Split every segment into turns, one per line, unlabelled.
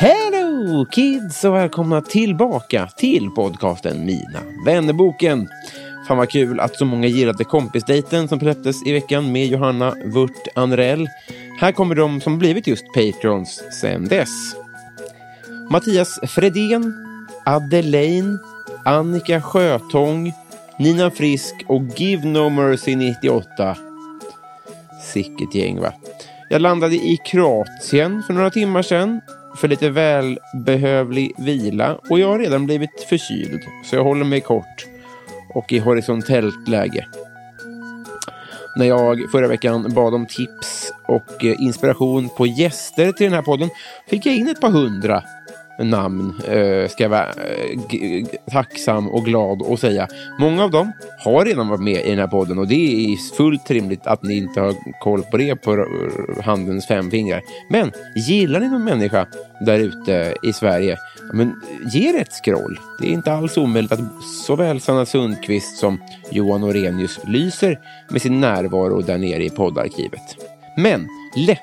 Hello kids och välkomna tillbaka till podcasten Mina vännerboken. Fan vad kul att så många gillade kompisdejten som släpptes i veckan med Johanna Wurt Anrell. Här kommer de som blivit just patrons sen dess. Mattias Fredén, Adelaine, Annika Sjötång, Nina Frisk och Give No Mercy 98. Sicket gäng va? Jag landade i Kroatien för några timmar sedan för lite välbehövlig vila och jag har redan blivit förkyld så jag håller mig kort och i horisontellt läge. När jag förra veckan bad om tips och eh, inspiration på gäster till den här podden fick jag in ett par hundra namn, eh, ska jag vara eh, g- g- tacksam och glad och säga. Många av dem har redan varit med i den här podden och det är fullt rimligt att ni inte har koll på det på eh, handens fem fingrar. Men gillar ni någon människa där ute i Sverige, ja, men ge det ett scroll. Det är inte alls omöjligt att såväl Sanna Sundqvist som Johan Orenius lyser med sin närvaro där nere i poddarkivet. Men lätt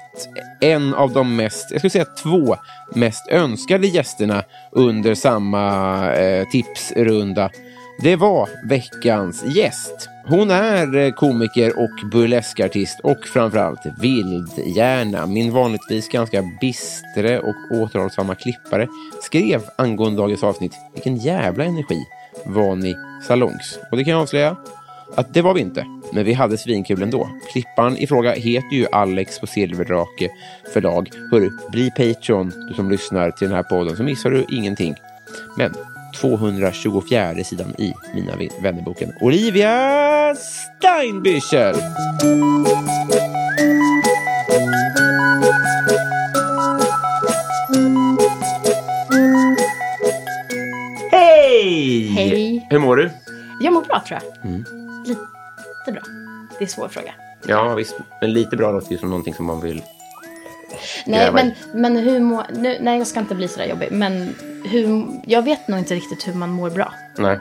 en av de mest, jag skulle säga två mest önskade gästerna under samma eh, tipsrunda. Det var veckans gäst. Hon är eh, komiker och burleskartist och framförallt vildhjärna. Min vanligtvis ganska bistre och återhållsamma klippare skrev angående dagens avsnitt “Vilken jävla energi var ni salongs?” Och det kan jag avslöja, att det var vi inte, men vi hade svinkul ändå. Klipparen i fråga heter ju Alex på Silverdrake förlag. Hörru, bli Patreon, du som lyssnar till den här podden, så missar du ingenting. Men 224 sidan i Mina vän- vännerboken. Olivia Steinbüchel! Hej!
Hej.
Hur mår du?
Jag mår bra tror jag. Lite bra. Det är en svår fråga.
Ja, visst. Men lite bra låter ju som någonting som man vill...
Nej,
Jävlar.
men, men hur mår... Nu, nej, jag ska inte bli sådär jobbig. Men hur, jag vet nog inte riktigt hur man mår bra.
Nej.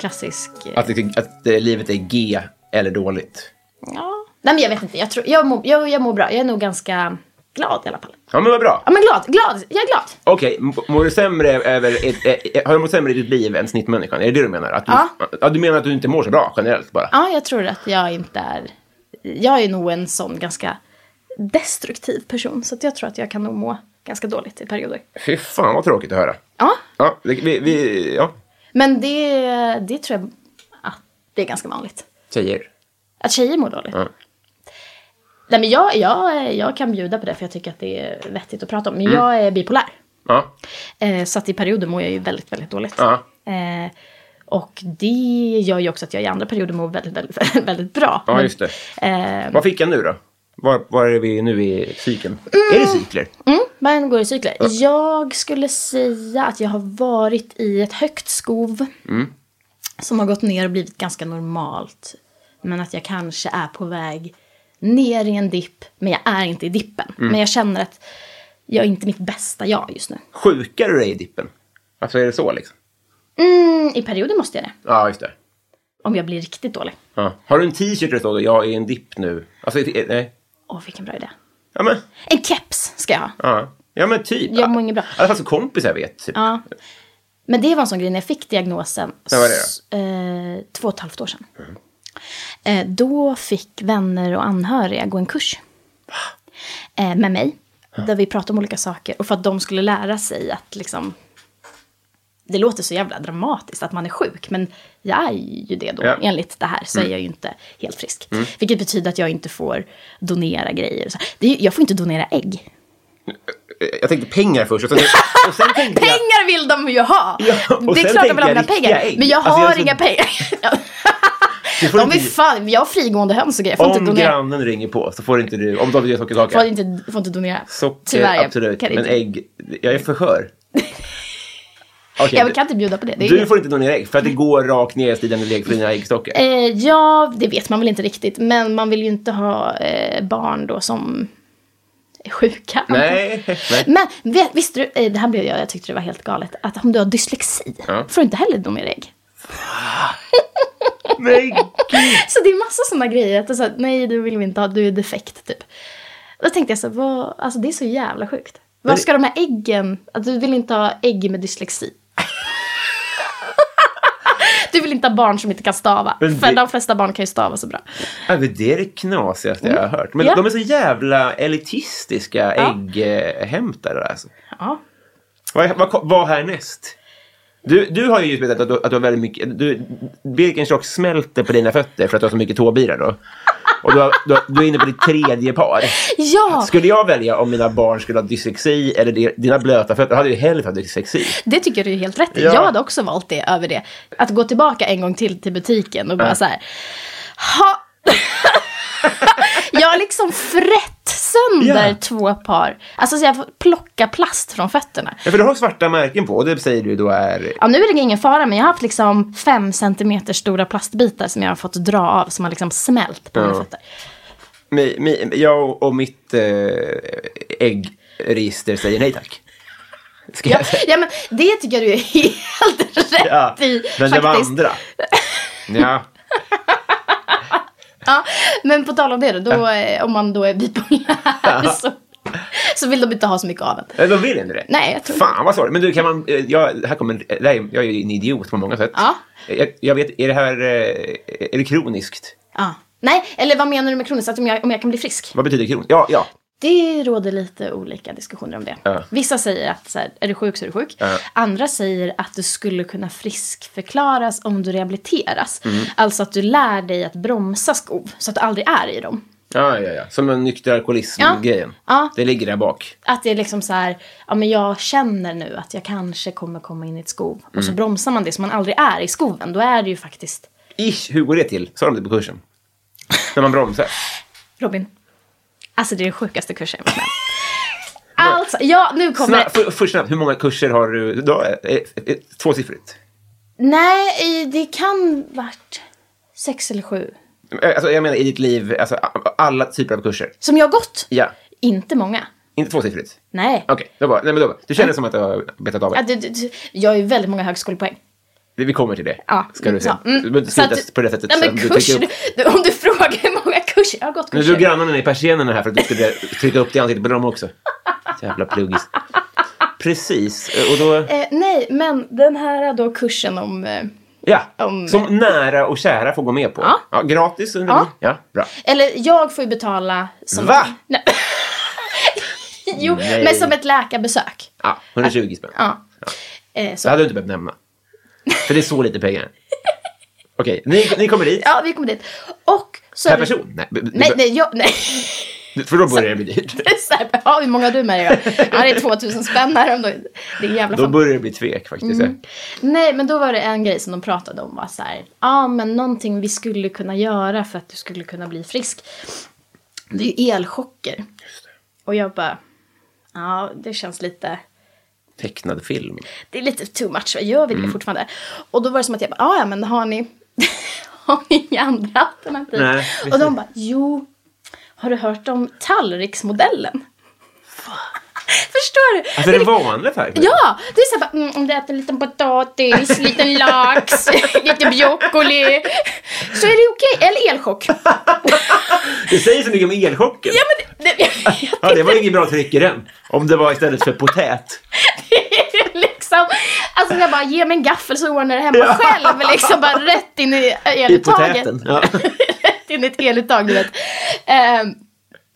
Klassisk... eh,
Att, det- att eh, livet är G eller dåligt.
Ja. Nej, men jag vet inte. Jag, tror, jag, mår, jag, jag mår bra. Jag är nog ganska glad i alla fall.
Ja, men vad bra.
Ja, men glad. Glad. Jag är glad.
Okej, m- mår du sämre över... Ett, eh, har du mått sämre i ditt liv än snittmänniskan? Är det det du menar? Att du,
Ja.
ja. Du menar att du inte mår så bra generellt bara?
Ja, jag tror att jag inte är... Jag är nog en sån ganska destruktiv person. Så att jag tror att jag kan nog må ganska dåligt i perioder.
Fy fan vad tråkigt att höra.
Ja,
Ja, det- vi... vi ja.
men det, det tror jag att det är ganska vanligt.
Tjejer.
Att tjejer mår dåligt?
Ja.
Nej men jag, jag, jag kan bjuda på det för jag tycker att det är vettigt att prata om. Men jag är bipolär.
Ja.
Eh, så att i perioder mår jag ju väldigt, väldigt dåligt.
Ja.
Eh, och det gör ju också att jag i andra perioder mår väldigt, väldigt, väldigt bra.
Ja,
Men,
just det.
Eh,
Vad fick jag nu då? Var, var är vi nu i cykeln? Är det cykler?
mm, man går i cykler. Jag skulle säga att jag har varit i ett högt skov. Som har gått ner och blivit ganska normalt. Men att jag kanske är på väg ner i en dipp. Men jag är inte i dippen. Men jag känner att jag är inte mitt bästa jag just nu.
Sjukar du dig i dippen? Alltså är det så liksom?
Mm, I perioder måste jag det.
Ja, just det.
Om jag blir riktigt dålig.
Ja. Har du en t-shirt där det står jag är i en dipp nu? Alltså, eh, nej.
Åh, vilken bra idé.
Ja, men,
En keps ska jag ha.
ja. ja, men typ.
Jag mår inget bra.
I alla fall så kompisar vet. Typ.
Ja. Men det var en sån grej när jag fick diagnosen.
När var det då? Mhm.
s- Eh, två och ett halvt år sedan. Eh, då fick vänner och anhöriga gå en kurs. Eh, med mig. Där vi pratade om olika saker. Och för att de skulle lära sig att liksom... Det låter så jävla dramatiskt att man är sjuk. Men jag är ju det då.
Ja. Mm.
Enligt det här så är jag ju inte helt frisk. Vilket betyder att jag inte får donera grejer. och så. Det är, ju- jag får inte donera ägg.
Eh, Jag tänkte pengar först. Och sen, och sen tänkte jag...
Pengar vill de ju ha!
Ja, och
det är
sen
klart de vill
tänker jag
ha mina
riktiga
pengar.
ägg.
Men jag har
Alltså, jag är så-
inga pengar.
Du får
de är
inte-
fan, jag har frigående höns och grejer. Jag får
Om
inte donera.
grannen ringer på så får inte du, om de vill ge sockerkaka.
Får inte, får inte donera.
Socker,
Tyvärr, jag
absolut.
kan
men
inte.
ägg, jag är för skör. Okej,
jag kan inte bjuda på det. det är
du får inte donera ägg för att det går rakt ner i stigande väg för dina äggstockar.
Eh, ja, det vet man väl inte riktigt. Men man vill ju inte ha eh, barn då som är sjuka.
Nej, nej.
Men vet, visste du, eh, det här blev jag, jag tyckte det var helt galet, att om du har dyslexi
Ja.
får du inte heller donera ägg.
nej. gud.
Så det är massa sådana grejer. Att det är så här, nej, du vill vi inte ha, du är defekt typ. Då tänkte jag så här, vad, alltså det är så jävla sjukt. Var
Men det-
ska de här äggen, att du vill inte ha ägg med dyslexi. du vill inte ha barn som inte kan stava.
Men
För
det-
de flesta barn kan ju stava så bra.
Ja, men det är det knasigaste jag har hört. Men
Ja.
de är så jävla elitistiska
Ja.
ägghämtare. Alltså.
Ja.
Vad, vad, vad härnäst? Du, du har ju just berättat att du, att du har väldigt mycket... Du, Birkenstock smälter på dina fötter för att du har så mycket tåbirar då. Och du, har, du, har, du är inne på ditt tredje par.
ja,
Skulle jag välja om mina barn skulle ha dyslexi eller de- dina blöta fötter, då hade jag ju hellre haft dyslexi.
det tycker du är helt rätt i.
Ja.
Jag hade också valt det över det. Att gå tillbaka en gång till till butiken och bara så här. Ha. jag har liksom frätt sönder
Ja.
två par. Alltså så jag får plocka plast från fötterna.
Ja, för du har svarta märken på och det säger du då är...
Ja, nu är det ingen fara, men jag har haft liksom fem centimeter stora plastbitar som jag har fått dra av, som har liksom smält på mina
Ja.
fötter.
Mi, mi, jag och mitt eh, äggregister säger nej tack. Ska
Ja,
jag säga.
ja, men det tycker jag du är helt rätt
Ja,
i,
men det var
faktiskt.
andra. Ja,
Ja, men på tal om det då, då eh, om man då är bipolär så, så vill de inte ha så mycket av en.
Eh, de vill inte det.
Nej, jag tror
Fan vad sorgligt. Men du, kan man... eh, Jag, här kommer, eh, nej, jag är ju en idiot på många sätt.
Ja.
Jag, jag vet, är det här... eh, Är det kroniskt?
Ja. Nej, eller vad menar du med kroniskt? Att om jag, om jag kan bli frisk?
Vad betyder kroniskt? Ja, ja.
Det råder lite olika diskussioner om det.
Ja.
Vissa säger att så här, är du sjuk så är du sjuk.
Ja.
Andra säger att du skulle kunna friskförklaras om du rehabiliteras.
Mm.
Alltså att du lär dig att bromsa skov så att du aldrig är i dem.
Ja, ja, ja. Som en nykter alkoholism-grejen.
Ja. Ja.
Det ligger där bak.
Att det är liksom så här, ja men jag känner nu att jag kanske kommer komma in i ett skov. Och så
Mm.
bromsar man det så man aldrig är i skoven. Då är det ju faktiskt,
Ish, hur går det till? Sa de det på kursen? När man bromsar?
Robin. Alltså det är den sjukaste kursen jag varit med om. Alltså, ja nu kommer...
Snabb, för, först snabbt, hur många kurser har du? Då, eh, eh, eh, tvåsiffrigt?
Nej, i- det kan varit sex eller sju.
Eh, Alltså, jag menar i ditt liv, alltså, a- alla typer av kurser.
Som jag har gått.
Ja,
Inte många.
inte tvåsiffrigt.
Nej.
Okej, då bara, nej men då bara. Du känner som att du har betat av
Ja,
det.
du, du, du, jag har ju väldigt många högskolepoäng.
Vi kommer till det.
Ja,
Ska du se.
ja, mm.
Du behöver inte
Så att
sluta på det sättet
Nej,
som
men
du trycker
kurser, du
upp.
du- Om du frågar hur många kurser, jag har gått
Nu
kurser.
drog grannarna i persiennerna här för att du skulle trycka upp det i ansiktet på dem också. Jävla pluggis. Precis, eh, och då...
eh, nej, men den här då kursen om... Eh,
Ja,
om-
som nära och kära får gå med på.
Ja.
gratis under...
Ja.
ja bra.
eller jag får ju betala... Som
Va?
Nej. jo,
Nej.
men som ett läkarbesök.
Ja, 120 spänn.
Ja. Eh,
Det
så.
hade du inte behövt nämna. För det är så lite pengar. Okej, ni, ni kommer dit.
Ja, vi kommer dit. Och så... är
Per
det-
person? Nej, b- b-
Nej, nej, jag, nej.
för då börjar det bli dyrt.
Det är så här, ja, hur många har du med dig då? Ja, det är 2000 spänn här om dagen. Det är jävla
Då
fan.
börjar det bli tvek
Mm.
faktiskt.
Nej, men då var det en grej som de pratade om var så här, ja ah, men någonting vi skulle kunna göra för att du skulle kunna bli frisk. Det är ju elchocker. Och jag bara, ja det känns lite,
Tecknad film. Alltså,
det är lite too much, gör
Mm.
vi det fortfarande? Och då var det som att jag bara, ah, ja men har ni, har ni inga andra alternativ?
Nej,
Och de
precis.
bara, jo, har du hört om tallriksmodellen? Förstår du?
Alltså är det vanlig färg?
Ja, det är såhär, mm, om du äter en liten potatis, liten lax, lite broccoli, så är det okej. Eller elchock.
Det säger så mycket om elchocken.
Ja, men det, det,
Ja, det var ingen bra trick i den. Om det var istället för potät.
liksom, alltså jag bara, ge mig en gaffel så ordnar det hemma själv. Liksom bara rätt in i
I
eluttaget.
potäten. Ja.
rätt in i ett eluttag, du vet. Ehm,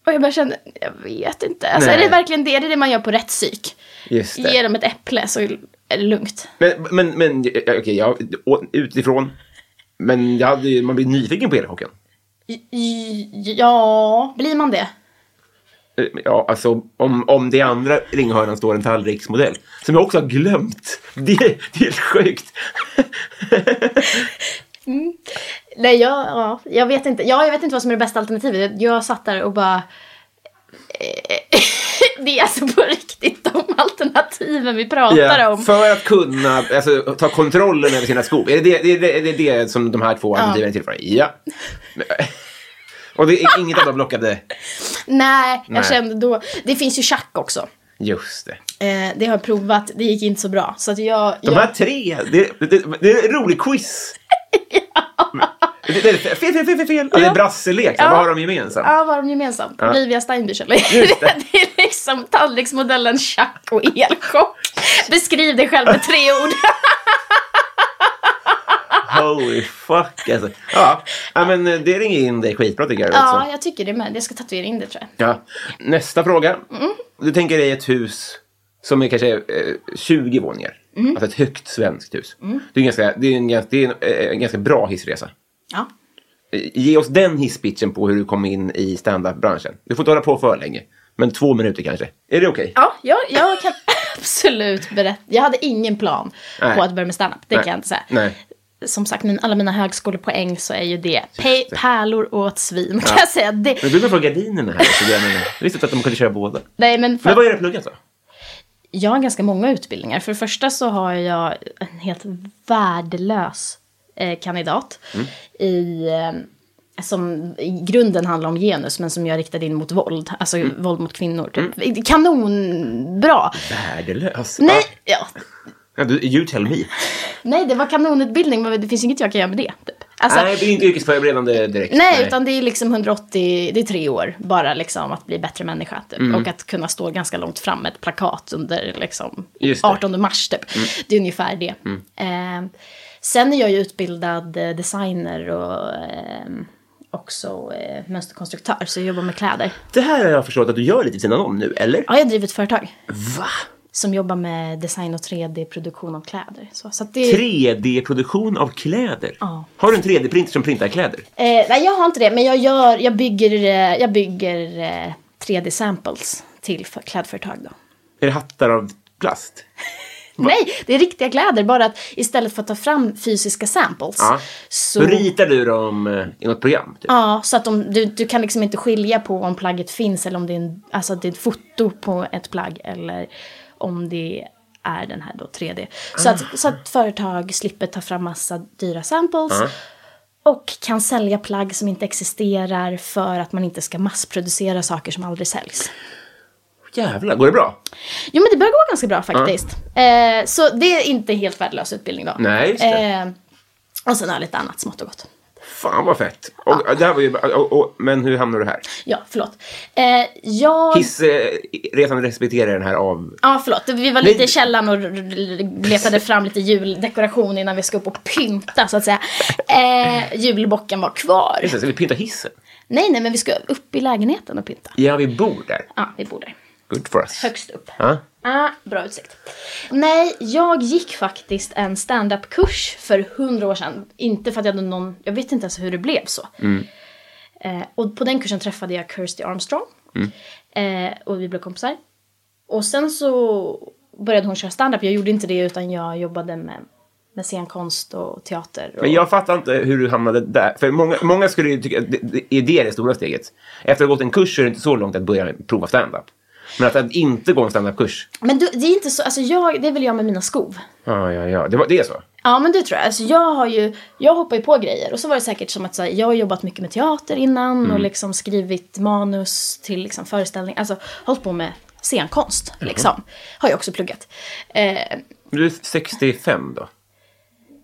och jag bara kände, jag vet inte. Alltså,
Nej.
är det verkligen det? Är det det man gör på rätt psyk?
Just det.
Ge dem ett äpple så är det lugnt.
Men, men, men ja, okej, jag, å- utifrån. Men jag hade, ju- man blir nyfiken på elchocken.
J- j- Ja, blir man det?
Eh, Ja, alltså om, om det i andra ringhörnan står en tallriksmodell. Som jag också har glömt. Det, det är helt sjukt.
Nej, jag, ja, jag vet inte. Ja, jag vet inte vad som är det bästa alternativet. Jag, jag satt där och bara... eh, det är alltså på riktigt de alternativen vi pratar
Ja,
om.
För att kunna alltså, ta kontrollen över sina skor. Är det det, det, det, det, är det som de här två alternativen är till för? Ja. Men- Och det är inget av dem lockade.
Nej, jag
Nej.
kände då... Det finns ju schack också.
Just det.
Eh, det har jag provat, det gick inte så bra. Så att jag...
De
jag
här tre, det, det, det är en rolig quiz. Det, det, fel, fel, fel, fel, fel. Ja. Det är brasselek, så
Ja.
vad har de gemensamt?
Ja, vad har de gemensamt?
Ja.
Olivia Steinbüchel. Det. är liksom tallriksmodellen schack och elchock. Beskriv dig själv med tre ord.
Holy fuck alltså. Ja. ja, men eh, det ringer in dig skitbra tycker jag.
ja,
Alltså.
jag tycker det med. Jag ska tatuera in det tror jag.
Ja. Nästa fråga.
Mm.
Du tänker dig ett hus som är kanske eh, 20 våningar.
Mm.
Alltså ett högt svenskt hus. Det är, ganska, det är, en, gans- det är en, eh, en ganska bra hissresa.
Ja.
Eh, Ge oss den hisspitchen på hur du kom in i standup-branschen. Du får inte hålla på för länge. Men två minuter kanske. Är det okej?
Ja, jag, jag kan absolut berätta. Jag hade ingen plan
Nej.
på att börja med standup. Det
Nej.
kan jag inte säga.
Nej.
Som sagt, min, alla mina högskolepoäng så är ju det, pe- pärlor åt svin. Kan
Ja.
jag säga. Det,
Men du var från gardinerna här. Så jag, menar, jag visste inte att de kunde köra båda.
nej, men för,
Men vad är det pluggat då?
Jag har ganska många utbildningar. För det första så har jag en helt värdelös eh, kandidat. I, eh, som i grunden handlar om genus, men som jag riktade in mot våld. Alltså våld mot kvinnor. Typ. Kanonbra!
Värdelös.
Nej, ja,
Ja, du, you tell me.
Nej, det var kanonutbildning, men det finns inget jag kan göra med det. Typ. Alltså,
nej, det är inte yrkesförberedande direkt.
nej, utan det är liksom 180, det är tre år bara liksom att bli bättre människa typ.
Mm.
Och att kunna stå ganska långt fram med ett plakat under liksom
Just det. Mm.
18 mars typ. Det är ungefär det. Eh, sen är jag ju utbildad eh, designer och ehm, också eh, mönsterkonstruktör, så jag jobbar med kläder.
Det här har jag förstått att du gör lite vid sidan om nu, eller?
Ja, jag driver ett företag
Va?
som jobbar med design och 3D-produktion av kläder. Så, så att det,
3D-produktion av kläder?
Ja.
Har du en 3D-printer som printar kläder?
Eh, nej, jag har inte det, men jag, gör, jag bygger, eh, jag bygger eh, 3D-samples till för, klädföretag då.
Är det hattar av plast?
Nej, det är riktiga kläder, bara att istället för att ta fram fysiska samples
Ja.
så...
Så ritar du dem eh, i något program? Typ.
Ja, så att de, du, du kan liksom inte skilja på om plagget finns eller om det är, en, alltså att det är ett foto på ett plagg eller om det är den här då 3D. Så att, så att företag slipper ta fram massa dyra samples och kan sälja plagg som inte existerar för att man inte ska massproducera saker som aldrig säljs.
Jävlar, går det bra?
Jo men det börjar gå ganska bra faktiskt. Eh, så det är inte helt värdelös utbildning då.
Nej, just det.
Eh, och sen har jag lite annat smått och gott.
Fan vad fett! Och, det här var ju, och, och, men hur hamnar du här?
Ja, förlåt. Eh, jag...
Hissresan respekterar den här av...
Ja, förlåt. Vi var lite
Nej.
i källaren och r- r- letade fram lite juldekoration innan vi ska upp och pynta, så att säga. Eh, julbocken var kvar.
Just det, Ska vi pynta hissen?
Nej, nej, men vi ska upp i lägenheten och pynta.
Ja, vi bor där.
Ja, vi bor där.
Good for us.
Högst upp.
Ja.
Ah, bra utsikt. Nej, jag gick faktiskt en stand-up-kurs för hundra år sedan. Inte för att jag hade någon, jag vet inte ens hur det blev så. Eh, och på den kursen träffade jag Kirsty Armstrong. Eh, och vi blev kompisar. Och sen så började hon köra stand-up. Jag gjorde inte det utan jag jobbade med, med scenkonst och teater. Och...
Men jag fattar inte hur du hamnade där. För många, många skulle ju tycka att det, det är det det stora steget. Efter att ha gått en kurs så är det inte så långt att börja prova stand-up. Men att, att inte gå en stand-up-kurs.
Men du, det är inte så, alltså jag, det vill jag med mina skov.
Ja, ja, ja. Det, var, det är så?
Ja men det tror jag. Alltså jag har ju, jag hoppar ju på grejer och så var det säkert som att så här, jag har jobbat mycket med teater innan och liksom skrivit manus till liksom föreställningar, alltså hållit på med scenkonst. Liksom. Har jag också pluggat. Eh,
Men Du är 65 då?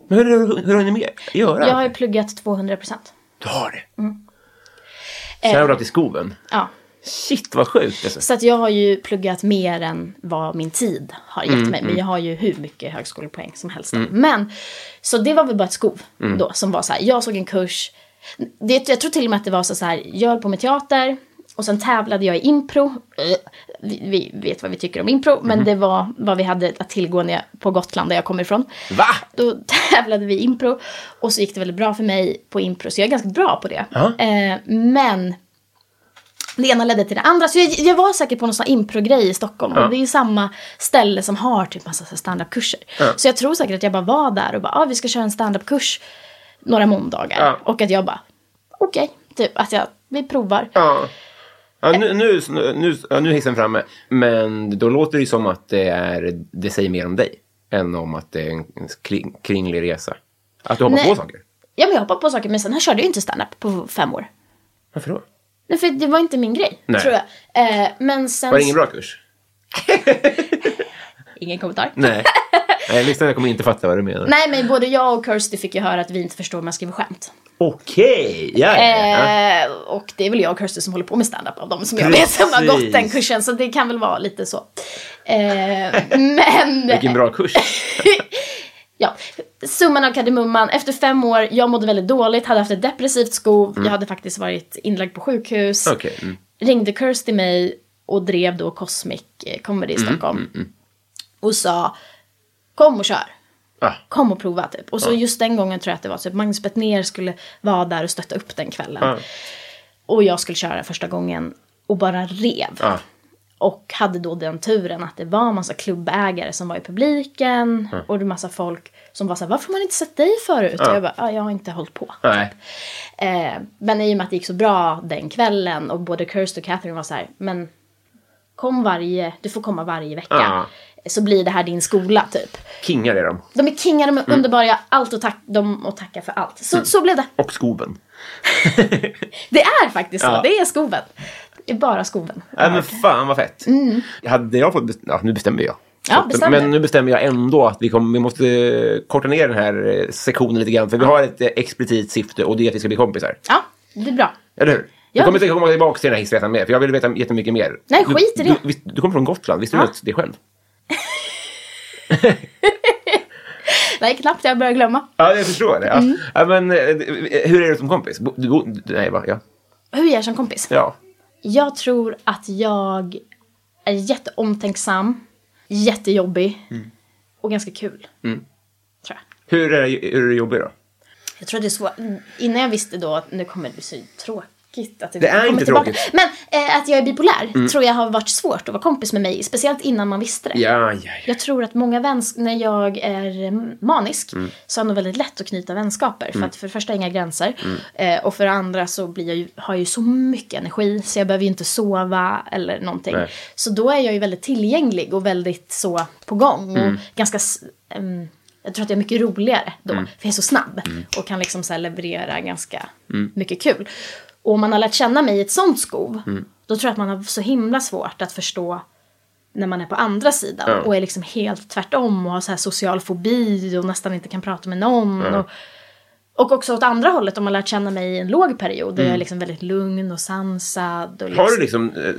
Men hur, hur, hur har ni med göra?
jag har Mm. ju pluggat 200 procent.
Du har det?
Eh.
Shoutout till skoven.
Ja.
Shit vad sjukt alltså.
Så att jag har ju pluggat mer än vad min tid har gett mig. Men jag har ju hur mycket högskolepoäng som helst. Men, så det var väl bara ett skov då som var så här, jag såg en kurs. Det, jag tror till och med att det var så här, jag höll på med teater. Och sen tävlade jag i impro. Eh, Vi, vi vet vad vi tycker om impro, men det var vad vi hade att tillgå när jag, på Gotland där jag kommer ifrån.
Va?
Då tävlade vi i impro och så gick det väldigt bra för mig på impro, så jag är ganska bra på det.
Ja.
Eh, men det ena ledde till det andra. Så jag, jag var säkert på någon sån här impro-grej i Stockholm. Och det är ju samma ställe som har typ massa så här standup-kurser. Så jag tror säkert att jag bara var där och bara, ah, vi ska köra en standup-kurs några måndagar.
Ja.
Och att jag bara, okej, typ att jag, vi provar.
Ja. Ja, nu, nu, nu, ja, nu är hissen framme. Men då låter det ju som att det, är, det säger mer om dig än om att det är en kring, kringlig resa. Att du hoppar
Nej.
på saker.
Ja, men jag hoppade på saker, men sen här körde jag ju inte standup på fem år.
Varför då?
Nej, för det var inte min grej,
Nej.
tror jag. Eh, men sen...
Var det ingen bra kurs?
Ingen kommentar.
Nej. Nej, lyssnarna kommer inte fatta vad du menar.
Nej, men både jag och Kirsty fick ju höra att vi inte förstår hur man skriver skämt.
Okej, ja, ja, ja.
Eh, och det är väl jag och Kirsty som håller på med stand-up av dem som jag vet som har
Precis.
gått den kursen. Så det kan väl vara lite så. Eh, men...
Vilken bra kurs.
Ja, summan av kardemumman. Efter fem år, jag mådde väldigt dåligt, hade haft ett depressivt skov. Jag hade faktiskt varit inlagd på sjukhus.
Mm. Okej, mm.
Ringde Kirsty mig och drev då Cosmic eh, Comedy i
Mm,
Stockholm. Och sa, kom och kör
Ah.
kom och prova typ. Och så just den gången tror jag att det var typ Magnus Bettner skulle vara där och stötta upp den kvällen.
Ja.
Och jag skulle köra första gången och bara rev.
Ja.
Och hade då den turen att det var en massa klubbägare som var i publiken och det var massa folk som var såhär, varför har man inte sett dig förut? Och jag bara, "Ja, jag har inte hållit på.
Nej.
Eh, men i och med att det gick så bra den kvällen och både Kirst och Catherine var så här, men kom varje, du får komma varje vecka. Så blir det här din skola typ.
Kingar är de.
De är kingar, de är
Mm.
underbara, jag har allt och tack, dem och tacka för allt. Så, så blev det.
Och skoven.
Det är faktiskt så,
Ja.
det är skoven. Det är bara skoven.
Ja, men fan vad fett. Hade jag fått bestämma, ja, nu bestämmer jag.
Mm. Ja,
Så-
bestäm
men
du.
nu bestämmer jag ändå att vi, kommer, vi måste eh, korta ner den här eh, sektionen lite grann. För vi har ett eh, explicit syfte och det är att vi ska bli kompisar.
Ja, det är bra.
Eller hur?
Ja.
Du kommer inte komma tillbaka till den här hissresan mer, för jag vill veta jättemycket mer.
Nej,
du,
skit i
Du,
det.
visst- du kommer från Gotland, visste
Ja.
du det själv?
Nej, knappt jag börjar glömma.
Ja, jag förstår det. Ja.
Mm.
Ja, men, eh, hur är du som kompis? Bo- Du, bo- du, nej, va? Ja.
Hur är jag som kompis?
ja.
Jag tror att jag är jätteomtänksam, jättejobbig
Mm.
och ganska kul. Tror jag.
Hur är, det- hur är det jobbig då?
Jag tror att det är svårt. Mm, Innan jag visste då att nu kommer det bli så tråkigt. Att
Det är
kommer
inte
tillbaka.
tråkigt. Mm.
Men eh, att jag är bipolär tror jag har varit svårt att vara kompis med mig. Speciellt innan man visste det.
Ja, ja, ja.
Jag tror att många vänskaper, när jag är eh, manisk,
Mm.
så har jag nog väldigt lätt att knyta vänskaper. För att för det första har jag inga gränser.
Mm.
Eh, och för det andra så blir jag ju, har jag ju så mycket energi så jag behöver ju inte sova eller någonting.
Nej.
Så då är jag ju väldigt tillgänglig och väldigt så på gång.
Mm.
Och ganska, s- ehm, jag tror att jag är mycket roligare då.
Mm.
För jag är så snabb. Och kan liksom så här leverera ganska
Mm.
mycket kul. Och om man har lärt känna mig i ett sånt skov.
Mm.
Då tror jag att man har så himla svårt att förstå när man är på andra sidan
Ja.
och är liksom helt tvärtom och har så här social fobi och nästan inte kan prata med någon. Och, och också åt andra hållet om man lärt känna mig i en låg period där jag är liksom väldigt lugn och sansad. Och
Mm.
liksom,
Har du liksom eh,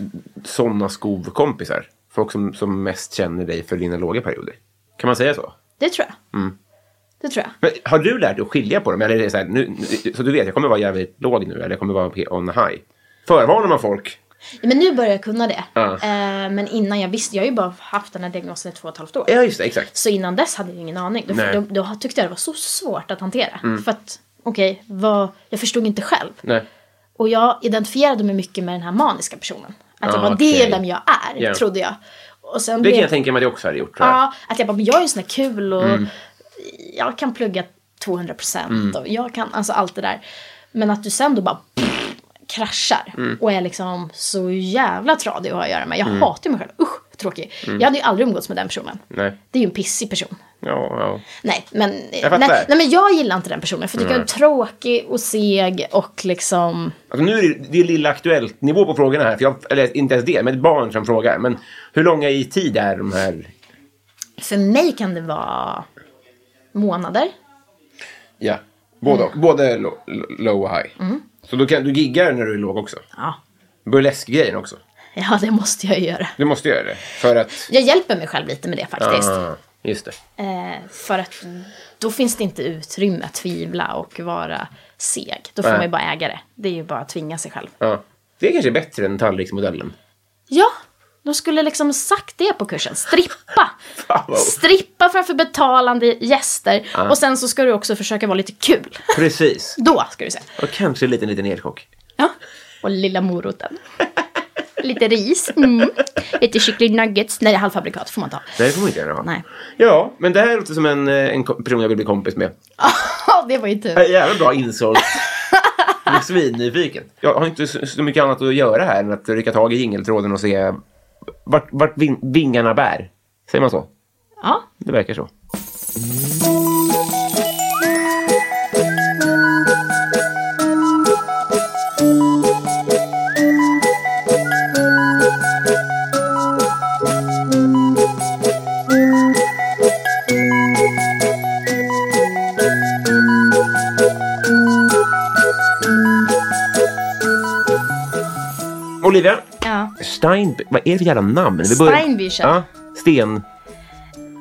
sådana skovkompisar? Folk som, som mest känner dig för dina låga perioder? Kan man säga så?
Det tror jag.
Mm.
Det tror jag.
Men har du lärt dig att skilja på dem? Eller är det så, här, nu, nu- så du vet, jag kommer vara jävligt låg nu eller jag kommer vara pe- on high. Förvarnar man folk?
Men nu börjar jag kunna det.
Ja.
Eh, men innan jag visste, jag har ju bara haft den här diagnosen i två och ett halvt år.
Ja, just det, exakt.
Så innan dess hade jag ingen aning. Då,
Nej. Mm.
då, då tyckte jag det var så svårt att hantera. För att, okej, vad- jag förstod inte själv.
Nej.
Och jag identifierade mig mycket med den här maniska personen. Att jag
Ah,
bara, det
okej.
är vem jag är,
Ja.
trodde jag. Och sen
Det kan jag tänka Mm. mig att jag också hade gjort. tror jag.
Ja, att jag bara, men jag är ju sån här kul och jag kan plugga 200 procent
Mm.
och jag kan, alltså allt det där. Men att du sen då bara
Mm.
pff, kraschar och är liksom så jävla tradig att ha att göra med. Jag hatar ju mig själv, usch. tråkig. Jag hade ju aldrig umgåtts med den personen.
Mm. Nej.
Det är ju en pissig person.
Ja, ja.
Nej, men
fattar.
jag, nej, nej, men jag gillar inte den personen. För jag tycker den är tråkig och seg och liksom...
Alltså nu är det, det är lilla aktuellt nivå på frågorna här. För jag, eller inte ens det, men ett barn som frågar. Men hur långa i tid är de här?
För mig kan det vara månader.
Ja, både och. Både lo, lo, low och high. Så du, kan, du giggar när du är låg också?
Ja.
Burleskgrejen också?
ja, det måste jag ju göra.
Du måste göra det. För att...
Jag hjälper mig själv lite med det faktiskt.
Ah, just det.
Eh, för att då finns det inte utrymme att tvivla och vara seg. Då får
Nej.
man ju bara äga det. Det är ju bara att tvinga sig själv.
Ja. Det är kanske bättre än tallriksmodellen.
Ja, de skulle liksom sagt det på kursen. Strippa!
Fan, vad-
Strippa framför betalande gäster. Och sen så ska du också försöka vara lite kul.
Precis.
Då ska du se.
Och kanske en liten, liten elchock.
Ja. Och lilla moroten. Lite ris. Mm. Lite kyckling nuggets. Nej, det är halvfabrikat får man ta.
Nej, det får man inte gärna ha.
Nej.
Ja, men det här låter som en, eh, en ko- person jag vill bli kompis med.
Ja, det var ju tur.
Ja, Jävla bra insålt. Jag är svinnyfiken. Jag har inte så så mycket annat att göra här än att rycka tag i jingeltråden och se vart, vart vin- vingarna bär. Säger man så?
Ja.
Det verkar så. Olivia,
ja.
Stein... Vad är det för jävla namn? Vi börjar-
Steinbücher.
Ja, Sten...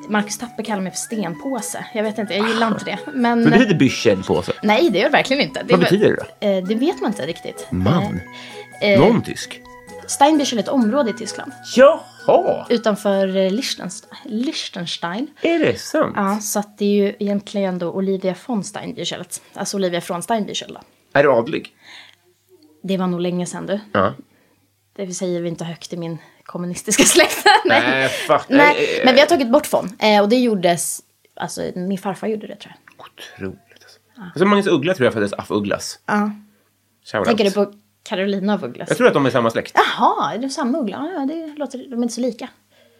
Marcus Tapper kallar mig för stenpåse. Jag vet inte, jag gillar inte det. Men... eh,
Men det heter Büchel på sig.
Nej, det gör det verkligen inte. Det
Vad
är-
betyder det då?
Eh, det vet man inte riktigt.
Man?
Eh,
Någon tysk?
Steinbüchel är ett område i Tyskland.
Jaha!
Utanför eh, Liechtenstein. Liechtenstein.
Är det sant?
Ja, så att det är ju egentligen då Olivia von Steinbüchel. Alltså Olivia från Steinbüchel då.
Är du adlig?
Det var nog länge sedan du.
Ja.
Det säger vi inte högt i min kommunistiska släkt.
Nej, Äh, fuck.
Nej, men vi har tagit bort von. Eh, och det gjordes, alltså min farfar gjorde det tror jag.
Otroligt. Alltså. Alltså, Magnus Uggla tror jag föddes af Ugglas.
Ja.
Shoutout.
Tänker du på Carolina av Ugglas?
Jag tror att de är samma släkt.
Jaha, är det samma uggla? Ja, det låter, de är inte så lika.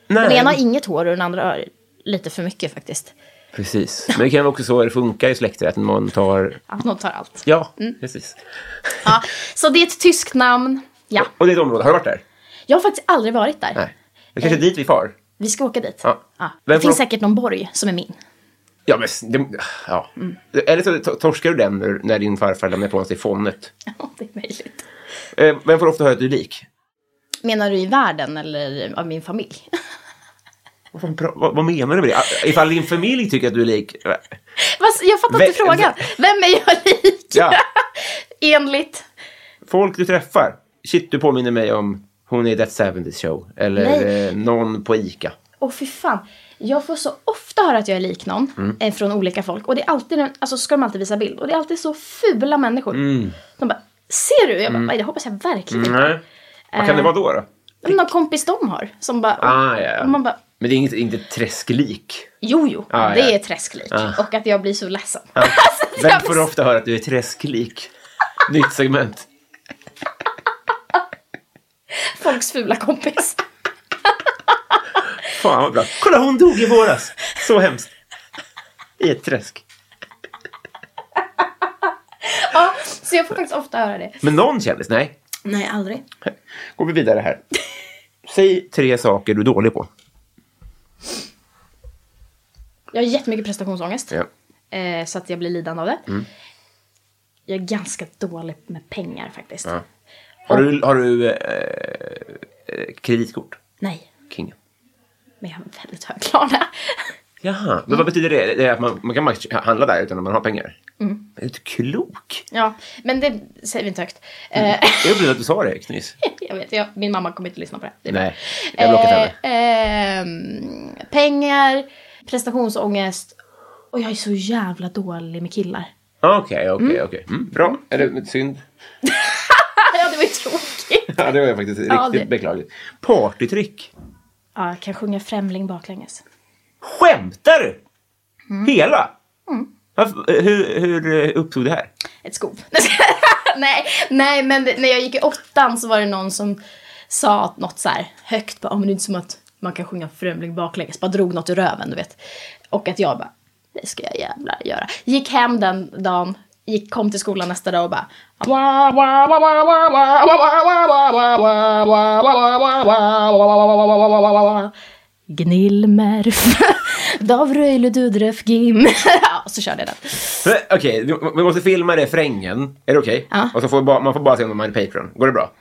Nej.
Den ena har inget hår och den andra har lite för mycket faktiskt.
Precis. Men det kan vara också så det funkar i släkter, att man tar...
Att någon tar allt.
Ja, precis.
Ja, så det är ett tyskt namn. Ja.
Och det är ett område. Har du varit där?
Jag har faktiskt aldrig varit där.
Nej. Det är
Eh.
kanske är dit vi far.
Vi ska åka dit.
Ja. Vem
Det
får
finns
de-
säkert någon borg som är min.
Ja, men... Det, ja.
Mm.
Eller så to- torskar du den när- när din farfar lämnar ifrån sig fånnet.
Ja, det är möjligt.
Eh, vem får ofta höra att du är lik?
Menar du i världen eller av min familj?
Vad, fan pra- vad, vad menar du med det? Ifall din familj tycker att du är lik... eh,
Vad- jag fattar
Vem-
inte frågan. Vem är jag lik?
Ja.
Enligt?
Folk du träffar. Shit, du påminner mig om hon i That 70 Show. Eller
Nej.
eh, någon på Ica.
Åh fy fan. Jag får så ofta höra att jag är lik någon
Mm.
eh, från olika folk. Och det är alltid, den- alltså så ska de alltid visa bild. Och det är alltid så fula människor.
Mm.
De bara, ser du? Jag bara, "Nej, det hoppas jag verkligen inte.
Nej. Vad
Eh.
kan det vara då? då?
Men Någon kompis de har. Som bara,
Ah, ja, ja.
Och man bara,
Men det är inget, inte träsklik.
jo jo,
Ah,
det
ja.
är träsklik. Och att jag blir så ledsen. Så att
Vem
Alltså, jag
får
blir-
ofta höra att du är träsklik? Nytt segment.
Folks fula kompis.
Fan vad bra. Kolla, hon dog i våras. Så hemskt. I ett träsk.
ja, så jag får faktiskt ofta höra det.
Men någon kändis? Nej.
Nej, aldrig.
Går vi vidare här. Säg tre saker du är dålig på.
Jag har jättemycket prestationsångest.
Ja. Mm.
Eh, så att jag blir lidande av det. Jag är ganska dålig med pengar faktiskt.
Har du, har du eh, eh, kreditkort?
Nej,
Kingen.
men jag har väldigt hög lana.
Jaha, men vad betyder det? det är att man, man kan max- handla där utan att man har pengar? Mm. Är du inte klok?
ja, men det säger vi inte högt. Eh,
Jag upplevde att du sa det högt nyss.
jag vet, jag, min mamma kommer inte lyssna på det. det är bra.
Nej, jag har blockat henne.
Eh, ehm, pengar, prestationsångest och jag är så jävla dålig med killar.
Okej, okej, okej. Eh. Mm, Bra. Är det synd?
ja, det var ju tråkigt.
Ja, det var ju faktiskt
Ja,
riktigt
det-
beklagligt. Partytrick.
ja, jag kan sjunga Främling baklänges.
Skämtar du? Hela? Mm. Varför, hur, hur upptog det här?
ett skov. nej, nej, men det, när jag gick i åttan så var det någon som sa att något så här högt. Bara, "Ja, men det är inte som att man kan sjunga Främling baklänges, bara drog något ur röven, du vet. Och att jag bara, det ska jag jävlar göra. Gick hem den dagen, gick, kom till skolan nästa dag och bara... Gnillmerf, Davröjle Dudref Gim. Ja, så körde jag den.
Okej, vi, vi måste filma refrängen. Är det okej?
Ja.
Och så får bara, man får bara se om man är Patreon. Går det bra?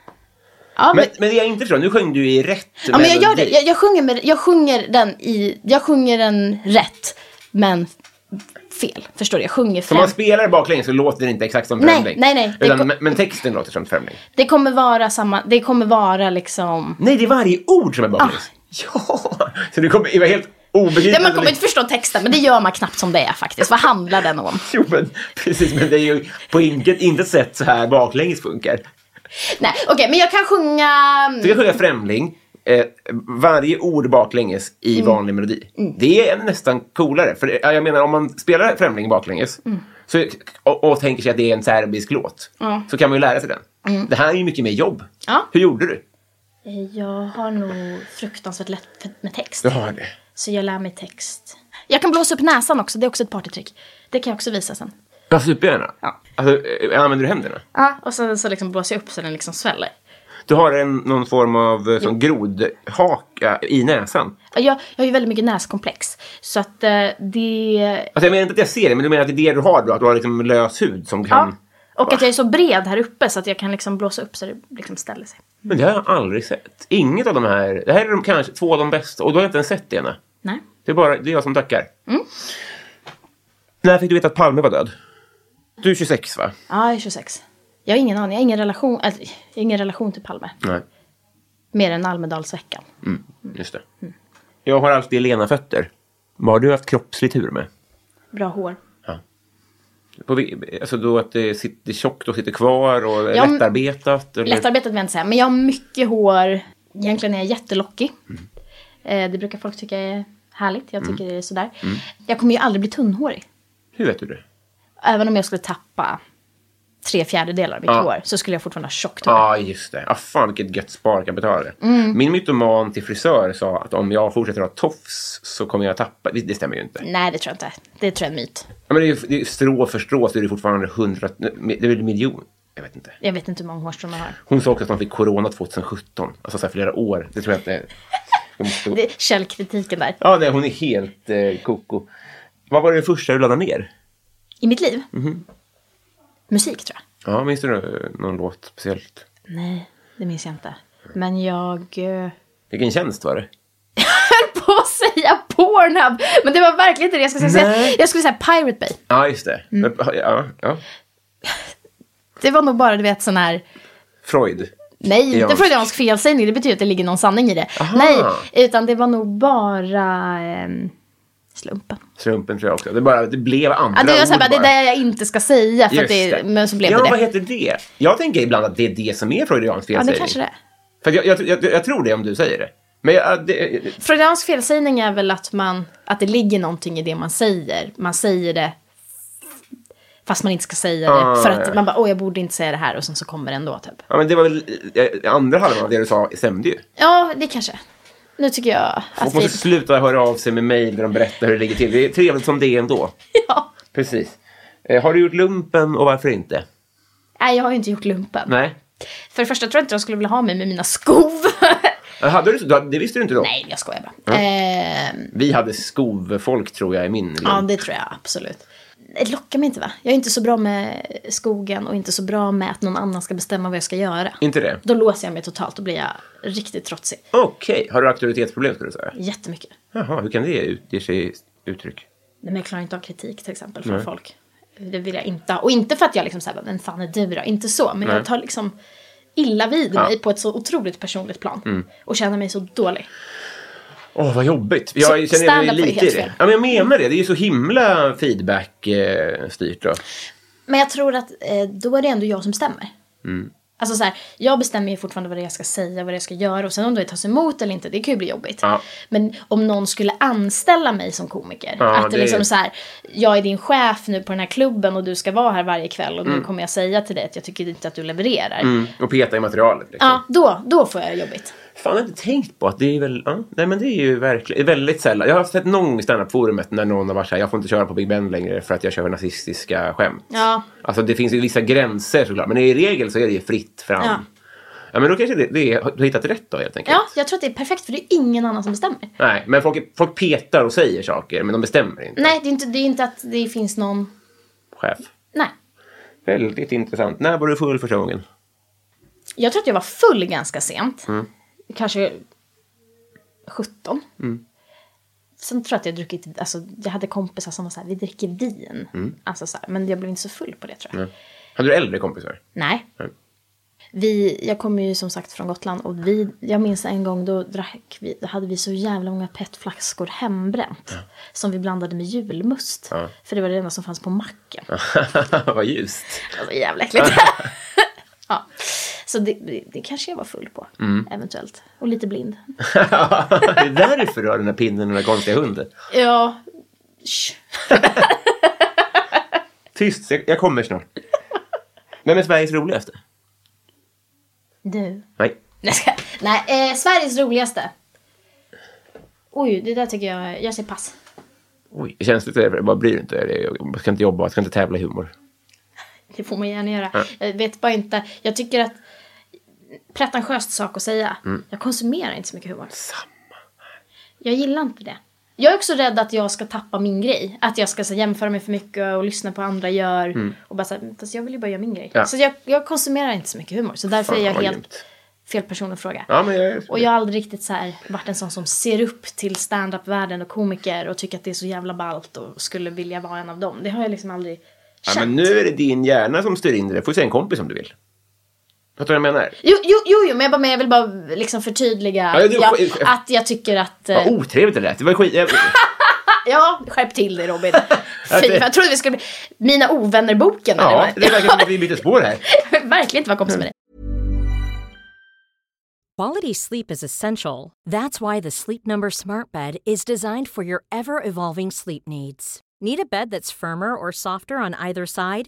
Ja, men,
Men, men det jag inte förstår, nu sjöng du i rätt
ja, men jag gör det. Jag, jag, sjunger med, jag sjunger den i... Jag sjunger den rätt, men fel. Förstår du? Jag sjunger
Om
fem.
man spelar baklänges så låter det inte exakt som
Nej,
Främling.
nej, nej. Det
Utan,
kom-
men- Men texten låter som Främling.
Det kommer vara samma... Det kommer vara liksom...
Nej, det är varje ord som är baklänges. Ja! Så det kommer det var helt obegripligt.
Ah. Ja, man kommer inte förstå texten, men det gör man knappt som det är faktiskt. Vad handlar den om?
Jo, men precis. Men det är ju på inget, intet sätt så här baklänges funkar.
Nej, okej, men jag kan sjunga...
Du kan sjunga Främling, eh, varje ord baklänges i
Mm.
vanlig melodi. Det är nästan coolare. För det- ja, jag menar, om man spelar Främling baklänges
Mm.
så, och, och tänker sig att det är en serbisk låt, så kan man ju lära sig den. Det här är ju mycket mer jobb.
Mm. Ja.
Hur gjorde du?
Eh, Jag har nog fruktansvärt lätt för- med text.
har det.
Så jag lär mig text. Jag kan blåsa upp näsan också, det är också ett partytrick. Det kan jag också visa sen.
Ja, supergärna.
Ja.
Alltså, eh, använder du händerna?
Ja, och sen så liksom blåser jag upp så den liksom sväller.
Du har en, någon form av eh, sån grodhaka i näsan.
Ja, Jag, jag har ju väldigt mycket näskomplex. Så att eh, det...
Alltså, jag menar inte att jag ser det, men du menar att det är det du har då? Att du har liksom lös hud som kan...
Ja. Och att jag är så bred här uppe så att jag kan liksom blåsa upp så det liksom ställer sig.
Men det har jag aldrig sett. Inget av de här. Det här är de kanske två av de bästa och då har jag inte ens sett det ena.
Nej.
Det är bara det är jag som tackar.
Mm.
När fick du veta att Palme var död? Du är 26 va?
Ja, jag är 26. Jag har ingen aning, jag har ingen relation, alltså, jag har ingen relation till Palme.
Nej.
Mer än Almedalsveckan.
Mm. Just det. Jag har alltid lena fötter. Vad har du haft kroppslig tur med?
Bra hår.
På, vi- alltså då att det sitter tjockt och sitter kvar och är
Ja, men-
lättarbetat? Eller?
Lättarbetat vill jag inte säga, men jag har mycket hår. Egentligen är jag jättelockig.
Mm.
Eh, det brukar folk tycka är härligt, jag tycker det är sådär.
Mm.
Jag kommer ju aldrig bli tunnhårig.
Hur vet du det?
Även om jag skulle tappa tre fjärdedelar av mitt
Ja.
hår så skulle jag fortfarande ha tjockt
Ja,
hår.
ah, just det. Ah, fan vilket gött sparkapital.
Mm.
Min mytoman till frisör sa att om jag fortsätter ha tofs så kommer jag tappa... Det det stämmer ju inte.
Nej, det tror jag inte. Det tror jag är en myt.
Ja, men det är, ju- det är ju strå för strå så är det fortfarande hundra... Det är väl en miljon? Jag vet inte.
Jag vet inte hur många hårstrån man har.
Hon sa också att hon fick corona 2017. Alltså så här flera år. Det tror jag inte... Jag måste...
Det är källkritiken där.
Ja, nej, hon är helt eh, koko. Vad var det första du laddade ner?
I mitt liv? Musik, tror jag.
Ja, minns du nå- någon låt speciellt?
Nej, det minns jag inte. Men jag... eh,
Vilken tjänst var det?
höll på att säga Pornhub. Men det var verkligen inte det jag skulle
Nej.
säga. Jag skulle säga Pirate Bay.
Ja, just det.
Mm.
Men, Ja, ja.
Det var nog bara, du vet, sån här...
Freud.
Nej,
Iransk.
inte freudiansk felsägning. Det betyder att det ligger någon sanning i det. Nej, utan det var nog bara ehm, slumpen.
Slumpen tror jag också. Det, bara, det blev andra
Ja, det, var så här, bara,
ord
det är
bara.
det jag inte ska säga, för att
Just
det, men så blev
ja,
det
vad
det.
heter det? Jag tänker ibland att det är det som är freudiansk
Ja,
felsägning.
det kanske det är.
För att jag, jag, jag, jag tror det om du säger det. Men jag, det,
Freudiansk felsägning är väl att, man, att det ligger någonting i det man säger. Man säger det fast man inte ska säga det.
Ah,
för att
ja.
man bara, åh jag borde inte säga det här och sen så kommer det ändå typ.
ja, men det var väl eh, andra halvan av det du sa stämde ju.
Ja, det kanske. Nu tycker jag
Folk
att vi...
måste sluta höra av sig med mejl där de berättar hur det ligger till. Det är trevligt som det är ändå.
Ja.
Precis. Eh, har du gjort lumpen och varför inte?
Nej, jag har ju inte gjort lumpen.
Nej.
För det första tror jag inte de skulle vilja ha mig med mina skov.
Eh, Hade du, du- det visste du inte då?
Nej, jag skojar bara. Ehm,
Vi hade skovfolk tror jag i min lump.
ja, det tror jag absolut. Det lockar mig inte va? Jag är inte så bra med skogen och inte så bra med att någon annan ska bestämma vad jag ska göra.
Inte det?
Då låser jag mig totalt, då blir jag riktigt trotsig.
Okej. Har du auktoritetsproblem skulle du säga?
Jättemycket.
Jaha, hur kan det utge sig i uttryck?
Nej, men jag klarar inte av kritik till exempel från folk. Det vill jag inte ha. Och inte för att jag liksom såhär, vem fan är du då? Inte så, men jag tar liksom illa vid mig på ett så otroligt personligt plan. Och känner mig så dålig.
Åh, vad jobbigt. Jag
Så
känner mig
stand-up är
lite i
helt
det.
fel.
Ja, men jag menar det. Det är ju så himla feedback-styrt. Då.
Men jag tror att eh, då är det ändå jag som bestämmer.
Mm.
Alltså så här, jag bestämmer ju fortfarande vad det är jag ska säga, vad det är jag ska göra och sen om det tas emot eller inte, det kan ju bli jobbigt.
Ja.
Men om någon skulle anställa mig som komiker,
Ja,
att
det
det
är-
liksom så här, jag är din chef nu på den här klubben och du ska vara här varje kväll och nu
Mm.
kommer jag säga till dig att jag tycker inte att du levererar.
Och peta i materialet. Liksom.
Ja, då, då får jag jobbigt.
fan inte tänkt på att det är väl... Ja, nej, men det är ju verkligen... Väldigt sällan. Jag har sett någon i standup-forumet när någon har varit så här, jag får inte köra på Big Ben längre för att jag kör nazistiska skämt.
Ja.
Alltså det finns ju vissa gränser såklart, men i regel så är det ju fritt fram. Ja.
Ja.
men då kanske det, det är, du har hittat rätt då helt enkelt.
Ja, jag tror att det är perfekt för det är ingen annan som bestämmer.
Nej, men folk, folk petar och säger saker, men de bestämmer inte.
Nej, det är inte, det är inte att det finns någon...
Chef.
Nej.
Väldigt intressant. När var du full första gången?
Jag tror att jag var full ganska sent. Kanske 17. Sen tror jag att jag druckit, alltså jag hade kompisar som var så här, vi dricker vin. Alltså så här, men jag blev inte så full på det tror jag.
Hade du äldre kompisar?
Nej.
Mm.
Vi, jag kommer ju som sagt från Gotland och vi, jag minns en gång då drack vi, då hade vi så jävla många petflaskor hembränt. Som vi blandade med julmust. För det var det enda som fanns på macken.
Vad ljust.
Det var jävla äckligt. ja. Så det, det, det kanske jag var full på. Eventuellt. Och lite blind.
det är därför du har den här pinnen och den här konstiga hunden.
Ja. Sh.
Tyst, jag, jag kommer snart. Vem är Sveriges roligaste?
Du.
Nej.
Nej, jag skojar. Nej eh, Sveriges roligaste. Oj, det där tycker jag... Jag säger pass.
Oj, känsligt är det. Bara bryr inte dig. Jag ska inte jobba, jag ska inte tävla i humor.
Det får man gärna göra. Jag vet bara inte. Jag tycker att... Pretentiöst sak att säga. Jag konsumerar inte så mycket humor.
Mm. Samma.
Jag gillar inte det. Jag är också rädd att jag ska tappa min grej. Att jag ska så, jämföra mig för mycket och lyssna på vad andra gör. Och bara så, här, "Men, alltså, jag vill ju bara göra min grej.
Mm. Ja.
Så jag, jag konsumerar inte så mycket humor. Så därför
Fan,
är jag
vad
helt
grymt.
fel person att fråga.
Ja, men jag är...
Och jag har aldrig riktigt så här, varit en sån som ser upp till stand-up-världen och komiker och tycker att det är så jävla ballt och skulle vilja vara en av dem. Det har jag liksom aldrig
ja,
känt.
men nu är det din hjärna som styr in det. får du säga en kompis om du vill. Fattar du vad jag menar?
Jo, jo, jo, jo, men jag, bara, men jag vill bara liksom förtydliga
Ja, du-
ja, att jag tycker att... eh,
Vad otrevligt det lät. Det var skit... jag-
Ja, skärp till dig Robin.
Ja,
Fy,
det-
jag trodde vi skulle bli Mina ovänner-boken. eller
Ja,
vad?
det Mm. verkar som att vi byter spår här.
Verkligen inte vara kompis med dig.
Quality sleep is essential. That's why the Sleep Number Smart Bed is designed for your ever evolving sleep needs. Need a bed that's firmer or softer on either side?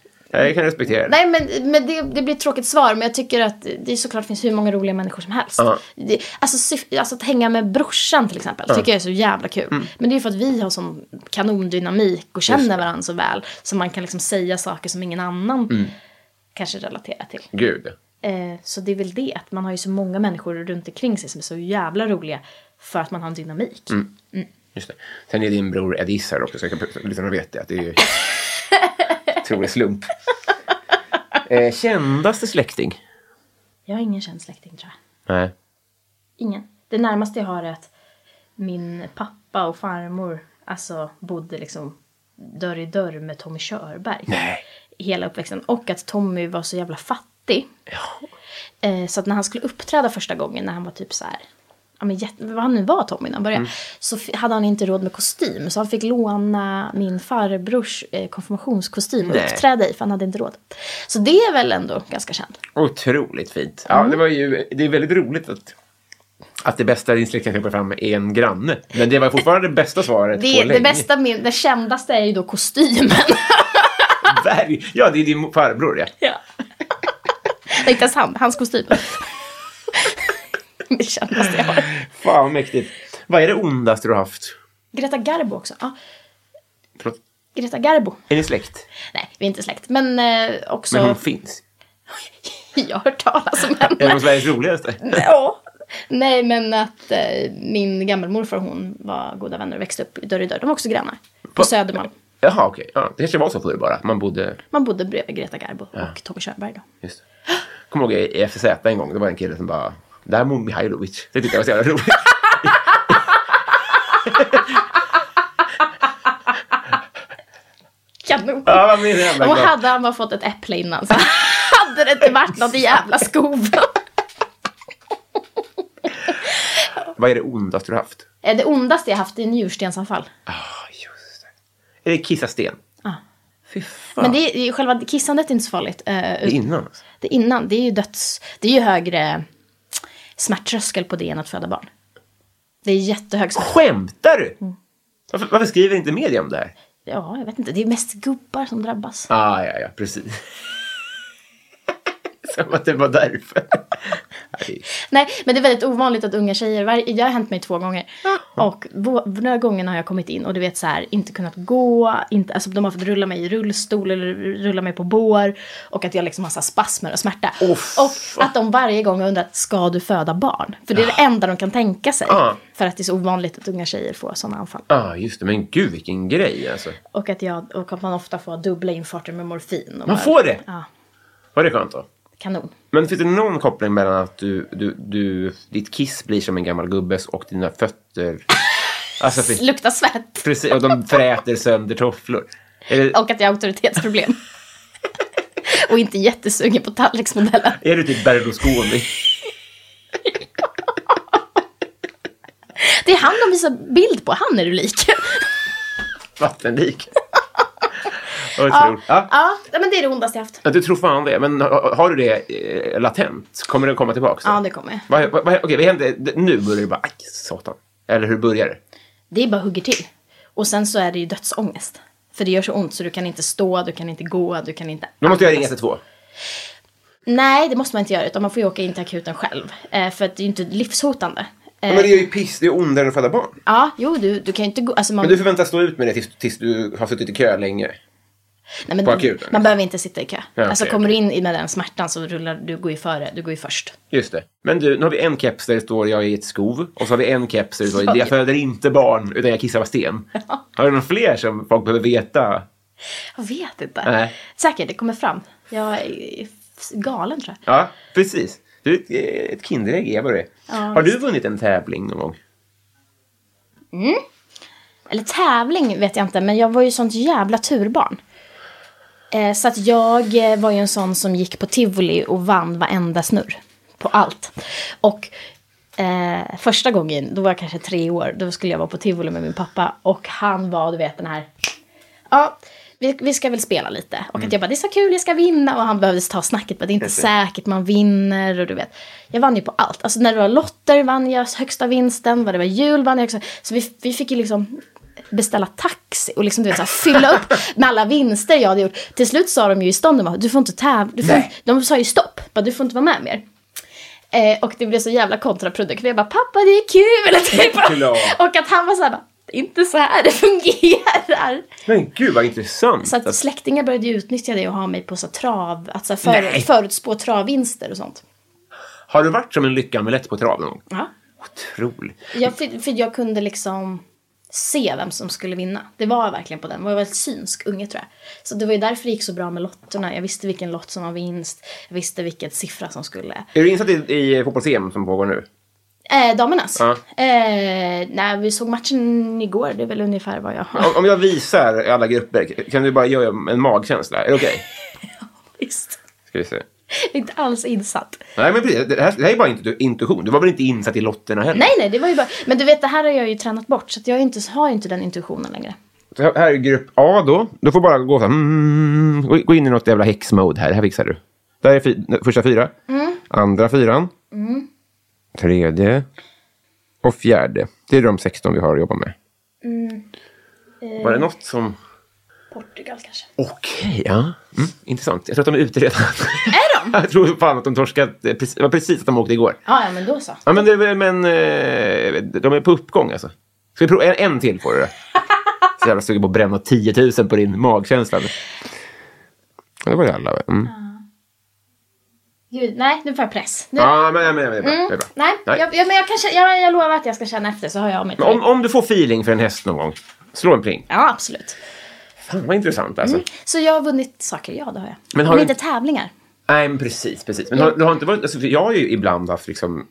jag kan respektera det.
Nej, men, men det, det blir ett tråkigt svar. Men jag tycker att det såklart finns hur många roliga människor som helst.
Ja.
Det, alltså, syf- alltså att hänga med brorsan till exempel tycker jag är så jävla kul.
Mm.
Men det är ju för att vi har sån kanondynamik och känner varandra så väl. Så man kan liksom säga saker som ingen annan
Mm.
kanske relaterar till.
Gud.
Eh, så det är väl det, att man har ju så många människor runt omkring sig som är så jävla roliga. För att man har en dynamik.
Just det. Sen är din bror Ed Isar också, så jag kan, lyssnarna vet det. Att det är ju otrolig slump. Eh, kändaste släkting?
Jag har ingen känd släkting tror jag.
Nej.
Ingen. Det närmaste jag har är att min pappa och farmor alltså, bodde liksom dörr i dörr med Tommy Körberg.
Nej.
Hela uppväxten. Och att Tommy var så jävla fattig.
Ja.
Eh, så att när han skulle uppträda första gången när han var typ så här. Ja, men jätte, vad han nu var Tommy när han började.
Mm.
Så f- hade han inte råd med kostym. Så han fick låna min farbrors eh, konfirmationskostym och
Nej.
uppträda i. För han hade inte råd. Så det är väl ändå ganska känt.
Otroligt fint. Ja,
Mm.
det, var ju, det är väldigt roligt att, att det bästa din släkting kan plocka fram är en granne. Men det var fortfarande det bästa svaret
Det,
på länge.
det bästa, min, det kändaste är ju då kostymen.
Berg. Ja, det är din farbror, ja.
Ja. Nej, inte ens han. Hans kostym. det kändaste jag har.
Fan, vad mäktigt. Vad är det ondaste du har haft?
Greta Garbo också. Ja,
Förlåt,
Greta Garbo.
är ni släkt?
Nej, vi är inte släkt. Men eh, också...
Men hon finns.
Jag har hört talas om
Är hon
henne.
Sveriges roligaste?
ja. Nej, men att eh, min gammelmorfar och hon var goda vänner och växte upp dörr i dörr. De var också grannar. På
Va?
Södermalm.
Jaha, okej. Ja, det kanske var så förr bara. att Man bodde...
Man bodde bredvid Greta Garbo och Tommy Körberg då.
Just det. kommer ihåg i FZ en gång, det var en kille som bara, det här är Mihailovic. Det tyckte jag var så jävla roligt.
Kanon.
Ja, vad menar jag?
Och hade han bara fått ett äpple innan så hade det inte varit något jävla skov.
Vad är det ondaste du har haft?
Eh, Det ondaste jag haft är njurstensanfall.
Ah, just det. Är det kissa sten?
Ah.
Fy fan.
Men det är, det är själva kissandet är inte så farligt. Eh,
Det är innan alltså.
Det innan, det är ju döds... Det är ju högre smärttröskel på det än att föda barn. Det är jättehög smärttröskel.
Skämtar du? Varför, varför skriver inte media om det här?
Ja, jag vet inte. Det är mest gubbar som drabbas.
Ah, ja, ja, precis. Som att det var därför. Nej.
Nej, men det är väldigt ovanligt att unga tjejer, var, det har hänt mig två gånger. Och vå- några gånger har jag kommit in och du vet så här, inte kunnat gå, inte, alltså de har fått rulla mig i rullstol eller rulla mig på bår. Och att jag liksom har så här spasmer och smärta.
Åh,
och att de varje gång har undrat, ska du föda barn? För det är det enda de kan tänka sig.
Ja.
För att det är så ovanligt att unga tjejer får sådana anfall.
ah, just det. Men gud, vilken grej alltså.
Och att, jag, och att man ofta får dubbla infarter med morfin. Och
Man får det?
Ja,
Var det skönt då?
kanon.
Men finns det någon koppling mellan att du, du, du, ditt kiss blir som en gammal gubbes och dina fötter... Alltså, fy-
Luktar svett.
precis, och de fräter sönder tofflor. Är, det,
Och att jag har auktoritetsproblem. och inte jättesugen på tallriksmodellen.
är du typ Berlusconi?
Det är han de visar bild på, han är du lik.
Vattenlik? Otroligt. Ja.
ja, men det är det ondaste jag haft.
Ja, du tror fan det. Men har, har du det eh, latent? Kommer den komma tillbaka?
Ja, det kommer.
Vad, vad, vad, okej, vad händer? Det- Nu börjar det bara, aj, satan. Eller hur börjar det?
Det är bara hugger till. Och sen så är det ju dödsångest. För det gör så ont så du kan inte stå, du kan inte gå, du kan inte...
Nu måste jag ringa
Alltså,
T2.
eh. Nej, det måste man inte göra utan man får ju åka in till akuten själv. Eh, för att det är ju inte livshotande. Eh,
det är ju piss, det är ondare än att föda barn.
Ja, jo, du, du kan ju inte gå... Alltså man,
Men du förväntas stå ut med det tills, tills du har suttit i kö länge.
nej, men
på
du-
akuten? liksom.
man behöver inte sitta i kö.
okej,
alltså kommer du in i- med den smärtan så rullar du, går ju före, du går ju först.
Just det. Men du, nu har vi en keps där det står jag är i ett skov. Och så har vi en keps där det står jag föder inte barn utan jag kissar på sten. Har du några fler som folk behöver veta?
Jag vet inte.
Nej.
Säkert, det kommer fram. Jag är galen tror jag.
Ja, precis. Du är ett, ett Kinderägg är vad du är. Har du vunnit en tävling någon gång?
Eller tävling vet jag inte, men jag var ju sånt jävla turbarn. Eh, så att jag eh, var ju en sån som gick på tivoli och vann varenda snurr. På allt. Och eh, första gången, då var jag kanske tre år, då skulle jag vara på tivoli med min pappa. Och han var, du vet den här, ja, vi, vi ska väl spela lite. Och
Mm.
att jag bara, det är så kul, jag ska vinna. Och han behövde ta snacket, bara, det är inte säkert man vinner. Och du vet, jag vann ju på allt. Alltså när det var lotter vann jag högsta vinsten, vad det var jul vann jag också. Så vi, vi fick ju liksom beställa taxi och liksom, du vet, så här, fylla upp med alla vinster jag hade gjort. Till slut sa de ju i stan, de bara, du får inte tävla, du får,
Nej.
de sa ju stopp, bara, du får inte vara med mer. Eh, och det blev så jävla kontraproduktivt. Jag bara, pappa det är kul! Typ.
Klart.
Och att han var såhär, bara, "Det är inte så här det fungerar.
Men gud vad intressant.
Så att
Alltså,
släktingar började ju utnyttja det och ha mig på så här trav, att så här för,
Nej.
förutspå travvinster och sånt.
Har du varit som en lyckoamulett på trav någon gång?
Ja.
Otroligt.
Jag, för, för jag kunde liksom se vem som skulle vinna. Det var jag verkligen på den. Jag var väldigt synsk unge tror jag. Så det var ju därför det gick så bra med lotterna. Jag visste vilken lott som var vinst. Jag visste vilken siffra som skulle...
Är du insatt i, i fotbolls-EM som pågår nu?
Eh, damernas?
Ja.
Eh, nej, vi såg matchen igår. Det är väl ungefär vad jag har
Om, om jag visar alla grupper, kan du bara göra en magkänsla? Är det okej?
visst.
Ska vi se.
Jag är inte alls insatt.
Nej, men precis. Det här, det här är bara intu- intuition. Du var väl inte insatt i lotterna heller?
Nej, nej, det var ju bara... Men du vet, det här har jag ju tränat bort. Så att jag är inte, har ju inte den intuitionen längre.
Så här- här är grupp A då. Du får bara gå så här, mm, gå- gå in i något jävla häxmode här. Det här fixar du. Där är fy, första fyra. Andra fyran. Tredje. Och fjärde. Det är de 16 vi har att jobba med. Var det något som...
Portugal kanske.
Okej, ja. Mm, intressant. Jag tror att de är ute redan.
Är de?
jag tror fan att de torskat. eh, precis- Det var precis att de åkte igår.
Ja, ja, men då så.
Ja, men, det, är väl- men eh, de är på uppgång alltså. Ska vi prova en, en till på det? Så jävla sugen på att bränna 10 000 på din magkänsla. nu. Ja, det var ju alla. va? Mm.
Gud, nej, nu får jag press. Nu...
Ja, men, men, men, det är
Mm.
bra. Det är bra.
Nej,
Nej.
Jag, jag, men jag, kanske, jag, jag lovar att jag ska känna efter så hör jag av mig till
Men om,
dig.
om du får feeling för en häst någon gång, slå en pling.
Ja, absolut.
Fan vad intressant alltså.
Mm. Så jag har vunnit saker, ja det har jag.
Men
Men,
har du-
inte tävlingar.
Nej, men precis. precis. Men har, du har inte varit, alltså, för jag har ju ibland haft liksom,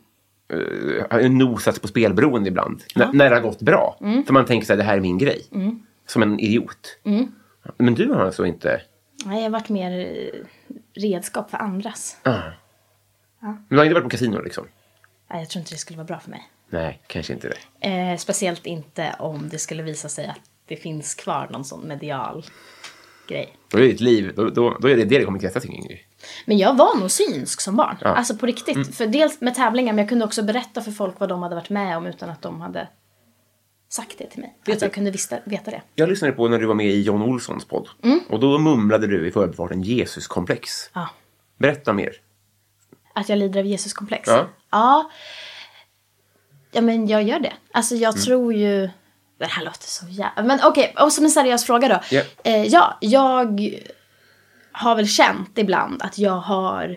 eh, har ju nosat på spelberoende ibland. N- när det har gått bra. För man tänker så här, det här är min grej. Som en idiot. Men du har alltså inte...
Nej, jag har varit mer eh, redskap för andras.
Men du har inte varit på kasino liksom?
Nej, jag tror inte det skulle vara bra för mig.
Nej, kanske inte det.
Eh, speciellt inte om det skulle visa sig att det finns kvar någon sån medial grej.
Då är det ditt liv. Då, då, då är det det det kommer kretsa kring. Ingrid.
Men jag var nog synsk som barn.
Ja. Mm.
Alltså på riktigt. För dels med tävlingar, men jag kunde också berätta för folk vad de hade varit med om utan att de hade sagt det till mig. att
du?
jag kunde vista, veta det.
Jag lyssnade på när du var med i John Olssons podd. Och då mumlade du i förbifarten Jesuskomplex.
Ja.
Berätta mer.
Att jag lider av Jesuskomplex.
Ja.
ja. Ja, men jag gör det. Alltså jag tror ju... Det här låter så jävla... Men okej, och som en seriös fråga då.
Ja.
Eh, ja, jag har väl känt ibland att jag har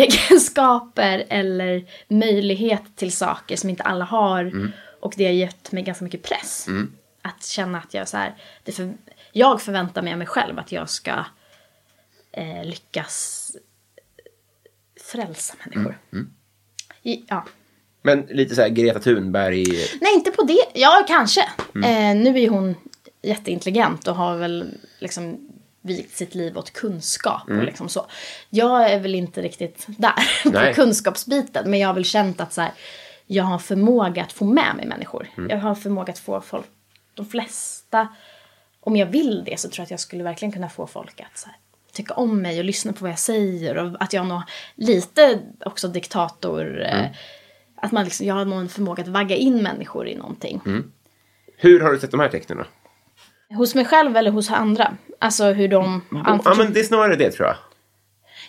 egenskaper eller möjlighet till saker som inte alla har. Och det har gett mig ganska mycket press. Att känna att jag så här, det för, jag förväntar mig av mig själv att jag ska eh, lyckas frälsa människor. I, ja.
Men lite så här Greta Thunberg.
Nej, inte på det. Ja, kanske. Eh, nu är ju hon jätteintelligent och har väl liksom vigt sitt liv åt kunskap och liksom så. Jag är väl inte riktigt där
Nej.
på kunskapsbiten, men jag har väl känt att så här, jag har en förmåga att få med mig människor. Jag har en förmåga att få folk, de flesta, om jag vill det så tror jag att jag skulle verkligen kunna få folk att så här, tycka om mig och lyssna på vad jag säger och att jag har nå- lite också diktator... eh, Att man liksom, jag har någon förmåga att vagga in människor i någonting.
Mm. Hur har du sett de här tecknen? då?
Hos mig själv eller hos andra. Alltså hur de
Mm. Ja,
anförtror-
men det är snarare det tror jag.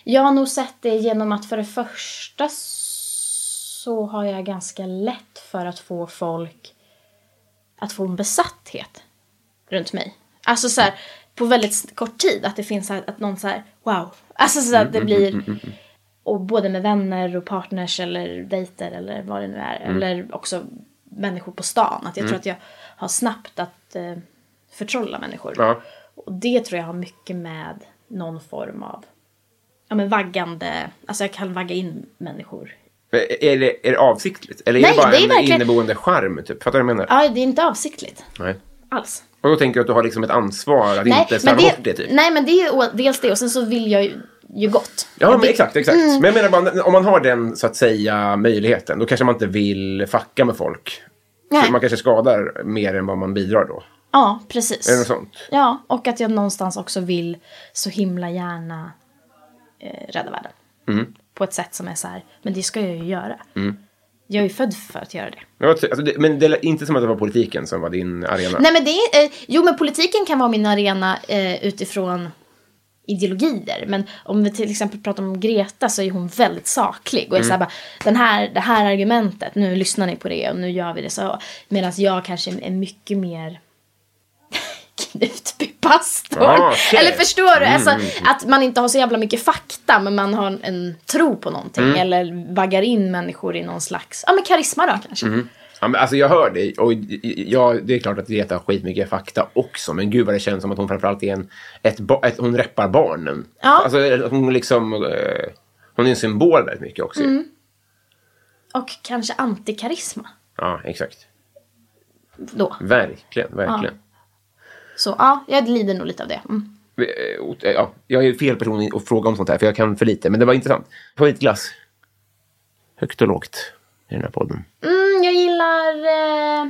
Jag har nog sett det genom att för det första så har jag ganska lätt för att få folk att få en besatthet runt mig. Alltså så här, på väldigt kort tid att det finns så här, att någon så här wow. Alltså så att det blir och både med vänner och partners eller dejter eller vad det nu är. Eller också människor på stan. Att jag tror att jag har snabbt att eh, förtrolla människor.
Ja.
Och det tror jag har mycket med någon form av ja, men vaggande, alltså jag kan vagga in människor.
Men Är det, är det avsiktligt? Eller är
Nej,
det bara
det är
en
verkligen-
inneboende charm? Typ? Fattar du vad jag menar?
Ja, det är inte avsiktligt
Nej.
alls.
Och då tänker jag att du har liksom ett ansvar att inte
men
slarva
det,
bort det. Typ.
nej, men det är å- dels det och sen så vill jag ju, ju gott.
Ja,
Jag
men
vill-
exakt. exakt.
Mm.
Men jag menar bara, om man har den så att säga möjligheten, då kanske man inte vill facka med folk. För
Nej.
man kanske skadar mer än vad man bidrar då.
Ja, precis.
Är det något sånt?
Ja, och att jag någonstans också vill så himla gärna eh, rädda världen.
Mm.
På ett sätt som är så här, men det ska jag ju göra. Jag är ju född för att göra det.
Det var- Alltså, det, men det är inte som att det var politiken som var din arena.
Nej men det är, eh, jo men politiken kan vara min arena eh, utifrån ideologier. Men om vi till exempel pratar om Greta så är hon väldigt saklig. Och
Mm.
är så här bara, den här, det här argumentet, nu lyssnar ni på det och nu gör vi det så. Medan jag kanske är mycket mer knutbypastor.
Ah, okej. mm,
Eller förstår du? Alltså, Att man inte har så jävla mycket fakta men man har en tro på någonting.
Mm.
Eller vaggar in människor i någon slags, ja men karisma då kanske.
Ja, men alltså jag hör dig och ja, det är klart att Greta har skitmycket fakta också. Men gud vad det känns som att hon framförallt är en... Ett, ba- ett, hon reppar barnen.
Ja.
Alltså hon liksom... Eh, hon är en symbol väldigt mycket också. ju.
Mm. Och kanske antikarisma
Ja, exakt.
då.
Verkligen, verkligen.
Så ja, jag lider nog lite av det. Mm.
Eh, och- eh, Ja, jag är ju fel person att fråga om sånt här för jag kan för lite. Men det var intressant. Favoritglass? Högt och lågt i den här podden.
Mm, jag gillar eh,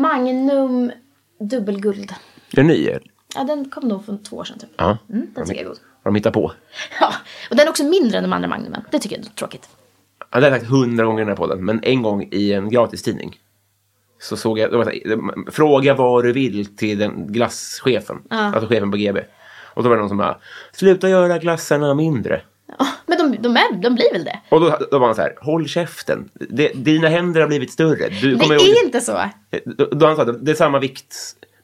Magnum dubbelguld.
Den ny? eller?
Ja, den kom nog från två år sedan typ.
Ja.
Mm, den tycker jag är god.
Har de hittat på?
Ja, och den är också mindre än de andra Magnumen. Det tycker jag är tråkigt.
Han har jag sagt hundra gånger i den här podden, men en gång i en gratistidning. Så såg jag, det var så här, fråga vad du vill till den glasschefen, alltså chefen på GB. Och då var det någon som bara, sluta göra glassarna mindre.
Ja, men de, de, är, de blir väl det?
Och då, då var han så här, håll käften, det, dina händer har blivit större. Du
Det
kommer
är inte så. Ja,
Då, då han sa att det är samma vikt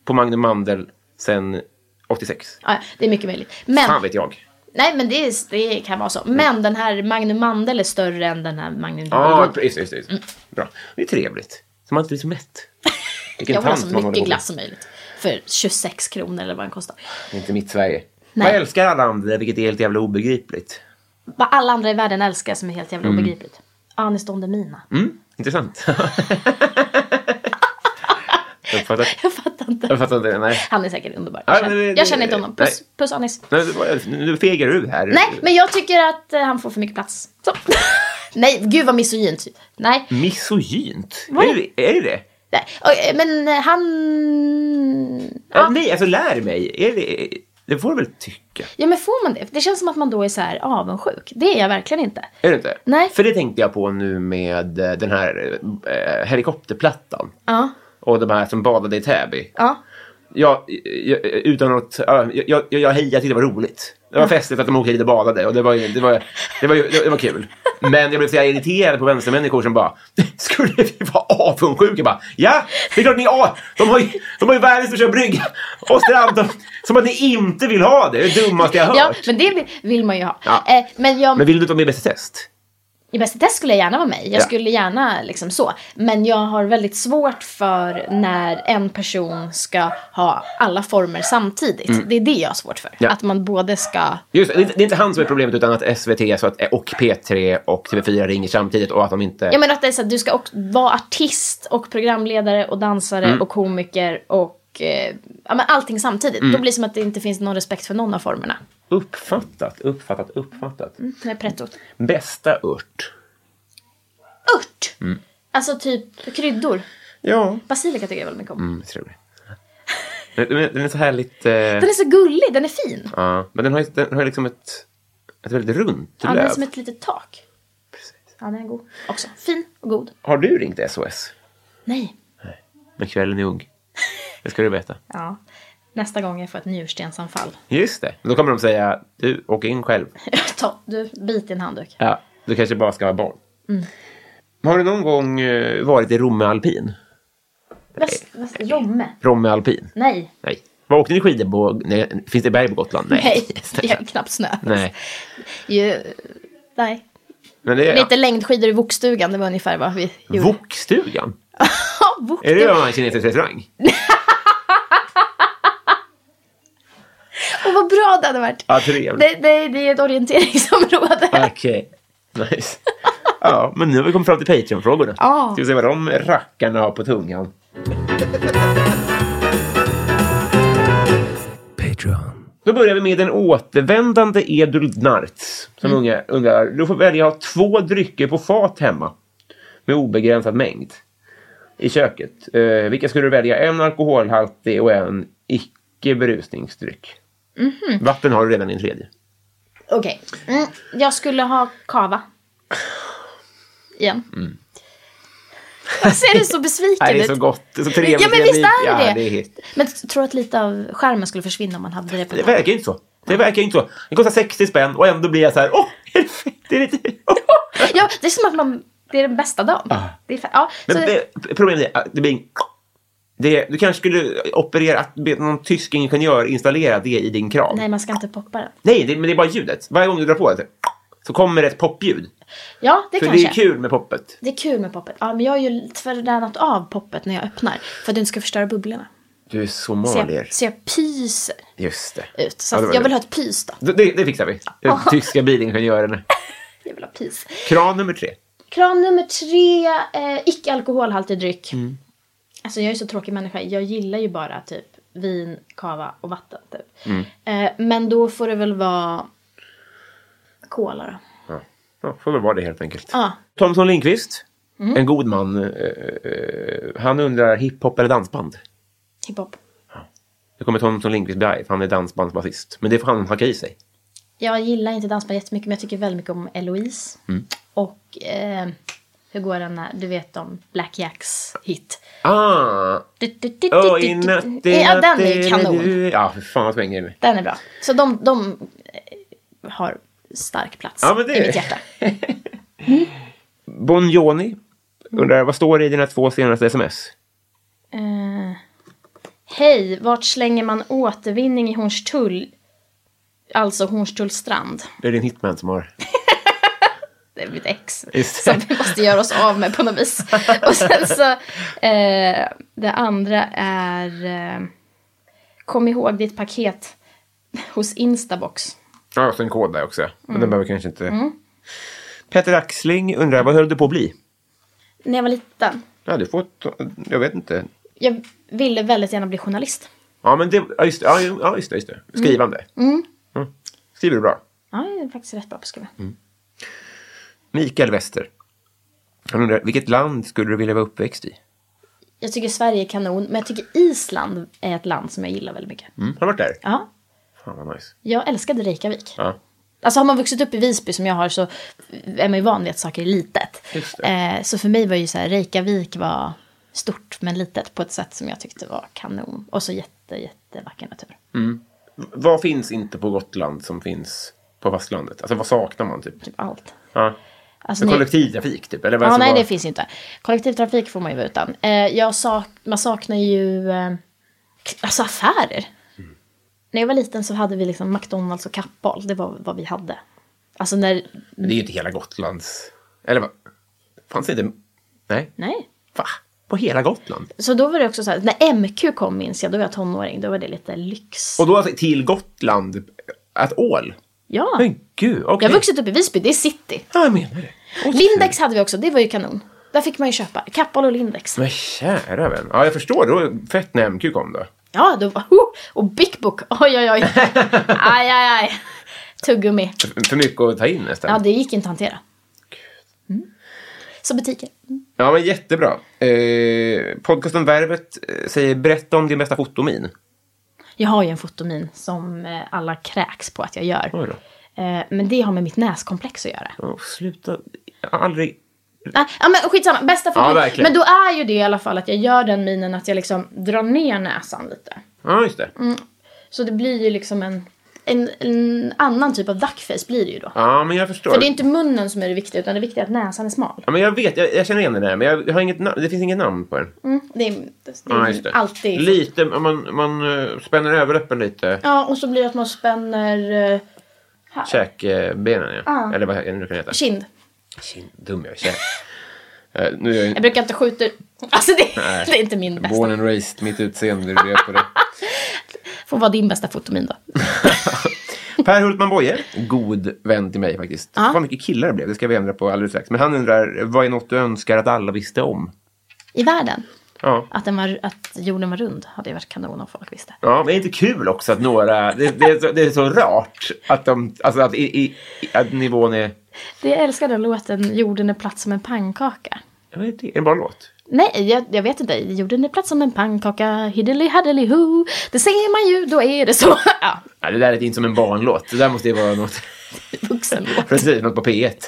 på Magnum Mandel sen 86.
ja, det är mycket möjligt. Men,
Fan vet jag.
nej, men det, är- det kan vara så. Men den här Magnum Mandel är större än den här Magnum
Ja,
dubbelguld.
just det, just det, just
Mm.
det. Bra. Det är trevligt. Så man inte blir så mätt. Vilken
jag vill ha
tant
så
man håller på
mycket
med.
glass som möjligt. För 26 kronor eller vad den kostar.
Det är inte mitt Sverige.
Nej.
Vad älskar alla andra, vilket är helt jävla obegripligt.
Vad alla andra i världen älskar som är helt jävla obegripligt. Anis Don Demina.
Mm, intressant. jag fattar,
Jag fattar inte.
jag fattar inte. Nej.
Han är säkert underbar.
Ja,
Jag känner,
men det-
jag känner inte honom. Puss,
nej. Mm.
puss Anis.
Nej, det var- Nu fegar du här.
Nej, men jag tycker att eh, han får för mycket plats. Så. Nej, gud vad misogynt. Nej,
Misogynt?
Vad?
Är det är det? det?
nej. Och, eh, men eh, han...
Ja. Nej, alltså lär mig. Är det, det får du väl tycka?
Ja, men får man det? Det känns som att man då är så här avundsjuk. Det är jag verkligen inte.
Är det inte?
Nej.
För det tänkte jag på nu med eh, den här eh, helikopterplattan.
Ja,
Och de här som badade i Täby.
ja.
Jag, jag, utan att, ja, jag, jag, jag hejade, jag tyckte det var roligt. Det var festligt att de åkte dit och badade och det var, ju- det var, det var, ju- det var kul. Men jag blev så jävla irriterad på vänstermänniskor som bara, skulle vi vara avundsjuka? Bara, ja, det är klart ni är av- de har ju, de har ju världens största brygga och strand. De, som att ni inte vill ha det, det är det dummaste jag har
ja
hört.
men det vill, vill man ju ha.
Ja.
Eh, men jag,
Men vill du inte vara med i Bäst i test?
i Bäst i test skulle jag gärna vara med i. Jag
Ja.
skulle gärna liksom så. Men jag har väldigt svårt för när en person ska ha alla former samtidigt. Det är det jag har svårt för.
Mm. Ja.
Att man både ska...
Just det, det, är inte han som är problemet utan att SVT så att, och P3 och TV4 ringer samtidigt och att de inte...
Jag menar att det är så att du ska också vara artist och programledare och dansare
Mm.
och komiker och eh, ja, men allting samtidigt.
Mm.
Då blir det som att det inte finns någon respekt för någon av formerna.
Uppfattat, uppfattat, uppfattat.
Det är prettot.
Bästa ört?
Ört!
Mm.
Alltså typ kryddor.
Ja.
Basilika tycker jag väldigt mycket om.
Mm, jag tror det. Den, den, den är så härligt... Eh,
Den är så gullig, den är fin.
ja, men den har ju den har ju liksom ett, ett väldigt runt
Ja, den är
löv.
som ett litet tak.
Precis.
Ja, den är god. Också. Fin och god.
Har du ringt SOS?
Nej.
Men kvällen är ung. Det ska du veta.
Ja. Nästa gång jag får ett njurstensanfall.
Just det. Då kommer de säga, du, åk in själv.
Ta, du, bit din handduk.
Ja, du kanske bara ska vara barn.
Mm.
Har du någon gång eh, varit i Romme alpin?
Väst, väst, Romme.
Romme alpin?
Nej.
Nej. Var åkte ni skidor på? Nej, finns det berg på Gotland? Nej.
Nej. Det är knappt snö.
Nej.
Ju, nej.
Men det är...
Lite längdskidor i Vokstugan, det var ungefär vad vi gjorde.
Wokstugan?
Ja, Vok-
Är det en kinesisk restaurang?
Och vad bra det hade varit.
Ja, trevligt.
Det, det, det är ett orienteringsområde.
Okej, nice. Ja, men nu har vi kommit fram till Patreon-frågorna.
Ja.
Ska vi se vad de rackarna har på tungan.
Patreon.
Då börjar vi med den återvändande Edul Narts. Som unga, undrar, du får välja ha två drycker på fat hemma. Med obegränsad mängd. I köket. Eh, vilka skulle du välja? En alkoholhaltig och en icke berusningsdryck. Vatten har du redan i en tredje.
Okej. Mm, jag skulle ha kava. Igen. Ser du så besviken
Mm. Nej, det
ut?
är så gott. Det är så trevligt.
Ja, men visst är
Ja,
det
det är helt-
Men t- tror du att lite av skärmen skulle försvinna om man hade det på
Det verkar ju inte så. Det verkar ju inte så. Det kostar 60 spänn och ändå blir jag så här, åh, det är lite... Åh.
Ja, det är som att man... Det är den bästa dagen. Det är fa- ja, så,
Ah. Men det, problemet är att det blir... en- Det, du kanske skulle operera, att be någon tysk ingenjör installera det i din kran.
nej,
Nej,
man ska inte poppa
det,
den.
men det är bara ljudet. Varje gång du drar på det så kommer det ett popljud.
Ja, det
För
kanske.
det är kul med poppet.
Det är kul med poppet. Ja, men jag har ju tränat av poppet när jag öppnar. För att du inte ska förstöra bubblorna.
Du är
Så
somalier.
jag, så jag pyser
Just det.
ut. Så
Ja,
att
det var
jag vill
det.
ha ett pys då.
Det, det, det fixar vi. Den tyska bilingenjörerna.
Jag vill ha pys.
Kran nummer tre.
Kran nummer tre, eh, icke-alkoholhaltig dryck.
Mm.
Alltså jag är så tråkig människa. Jag gillar ju bara typ vin, kava och vatten. Typ.
Mm.
Eh, men då får det väl vara cola då.
Ja, ja får väl vara det helt enkelt.
Ja. Mm.
Thomson Lindqvist, en god man, eh, eh, han undrar hiphop eller dansband?
Hiphop.
Det kommer Thomson Lindqvist bli arg, för han är dansbandsbasist. Men det får han hacka i sig.
Jag gillar inte dansband jättemycket men jag tycker väldigt mycket om Eloise.
Mm.
Och eh, hur går den här, du vet om Black Jacks hit.
Ah!
Du, du, du, du,
Oh,
du,
i
du.
natt, i
Ja, den
natt,
är ju
i-
kanon.
Ja, för fan vad svänger det
Den är bra. Så de, de eh, har stark plats
Ja, men det-
i mitt hjärta.
Bon
Mm.
Jovi undrar, vad står det i dina två senaste sms?
Eh, Hej, vart slänger man återvinning i Hornstull? Alltså Hornstull strand.
Det är din hitman som har...
Det är mitt ex.
Just det.
Som vi måste göra oss av med på något vis. Och sen så, eh, det andra är, eh, kom ihåg ditt paket. hos Instabox.
Ja, och så en kod där också. Men
Mm.
den behöver vi kanske inte... Peter Axling undrar, vad höll du på att bli?
När jag var liten.
Ja, du får... ta- Jag vet inte.
Jag ville väldigt gärna bli journalist.
Ja, men det... Ja, just det. Ja, jo, ja, just det, just det. Skrivande. Mm. Skriver du bra?
Ja, jag är faktiskt rätt bra på att skriva.
Mm. Mikael Wester. Han undrar, vilket land skulle du vilja vara uppväxt i?
Jag tycker Sverige är kanon, men jag tycker Island är ett land som jag gillar väldigt mycket.
Mm. Har du varit där?
Ja,
Fan, vad nice.
jag älskade Reykjavik.
Ja.
Alltså har man vuxit upp i Visby som jag har så är man ju van vid att saker är litet.
Just det.
Eh, så för mig var ju så här, Reykjavik var stort men litet på ett sätt som jag tyckte var kanon. Och så jätte, jättevacker natur.
V- Vad finns inte på Gotland som finns på fastlandet? Alltså, vad saknar man, typ?
Typ allt.
Ja.
Alltså,
Men
nu-
kollektivtrafik, typ? Eller vad
Ja,
som
nej,
var-
det finns inte. Kollektivtrafik får man ju vara utan. Eh, jag sak man saknar ju eh, k- alltså affärer.
Mm.
När jag var liten så hade vi liksom McDonalds och Kappahl. Det var vad vi hade. Alltså när...
Men det är ju inte hela Gotlands... Eller vad? Fanns det inte... Nej.
Nej.
Va? På hela Gotland?
Så då var det också så här, när MQ kom minns jag, då var jag tonåring, då var det lite lyx.
Och då alltså till Gotland? Att ål?
Ja.
Men gud, okej.
Jag har vuxit upp i Visby, det är city.
Ja, jag menar det.
Lindex hade vi också, det var ju kanon. Där fick man ju köpa Kappahl och Lindex.
Men kära vän. Ja, jag förstår. Det var fett när MQ kom då.
Ja, då var, oh, och Big Book, oj oj oj. Aj aj aj. Tuggummi.
För- För mycket att ta in nästan.
Ja,
Ja,
det gick inte att hantera. Mm. Så butiker.
men jättebra. Eh, podcasten Värvet eh, säger berätta om din bästa fotomin.
Jag har ju en fotomin som eh, alla kräks på att jag gör.
Oj då.
Eh, Men det har med mitt näskomplex att göra.
Åh, sluta. Jag har Aldrig.
Nej, Ah, ja men skitsamma, bästa
Ja,
fotomin.
verkligen.
men då är ju det i alla fall att jag gör den minen att jag liksom drar ner näsan lite.
Ja, just det.
Mm. Så det blir ju liksom en, en, en annan typ av duckface blir det ju då.
Ja, men jag förstår.
För det är inte munnen som är det viktiga utan det viktiga är att näsan är smal.
Ja, men jag vet. Jag, jag känner igen den där. Men jag, jag har inget namn. Det finns inget namn på den.
Mm. Det är, det är
Ja, just det.
alltid...
Lite, man, man eh, spänner överläppen lite.
ja, och så blir det att man spänner eh,
Käkbenen, ja. Eller vad det nu kan heta.
kind.
Kind. Dum jag är. Käk. Eh, nu är jag
Jag brukar inte skjuta... Alltså det,
Nej.
det är inte min bästa.
born and raised. Mitt utseende är på det.
Får vara din bästa fotomin då.
Per Hultman Boye, god vän till mig faktiskt. Vad mycket killar det blev, det ska vi ändra på alldeles strax. Men han undrar, vad är något du önskar att alla visste om?
I världen.
Ja.
Att, den var, att jorden var rund hade ju varit kanon om folk visste.
Ja, men det är inte kul också att några... Det, det, är, så, det är så rart att, de, alltså att, i, i, att nivån är...
Det jag älskar den låten Jorden är platt som en pannkaka.
Jag vet inte, är det bara en låt?
Nej, jag, jag vet inte. Jorden är platt som en pannkaka, hiddeli haddeli ho. Det ser man ju, då är det så. Ja,
Ja, det där är inte som en barnlåt. Det där måste ju vara något...
vuxenlåt.
Precis, något på P1.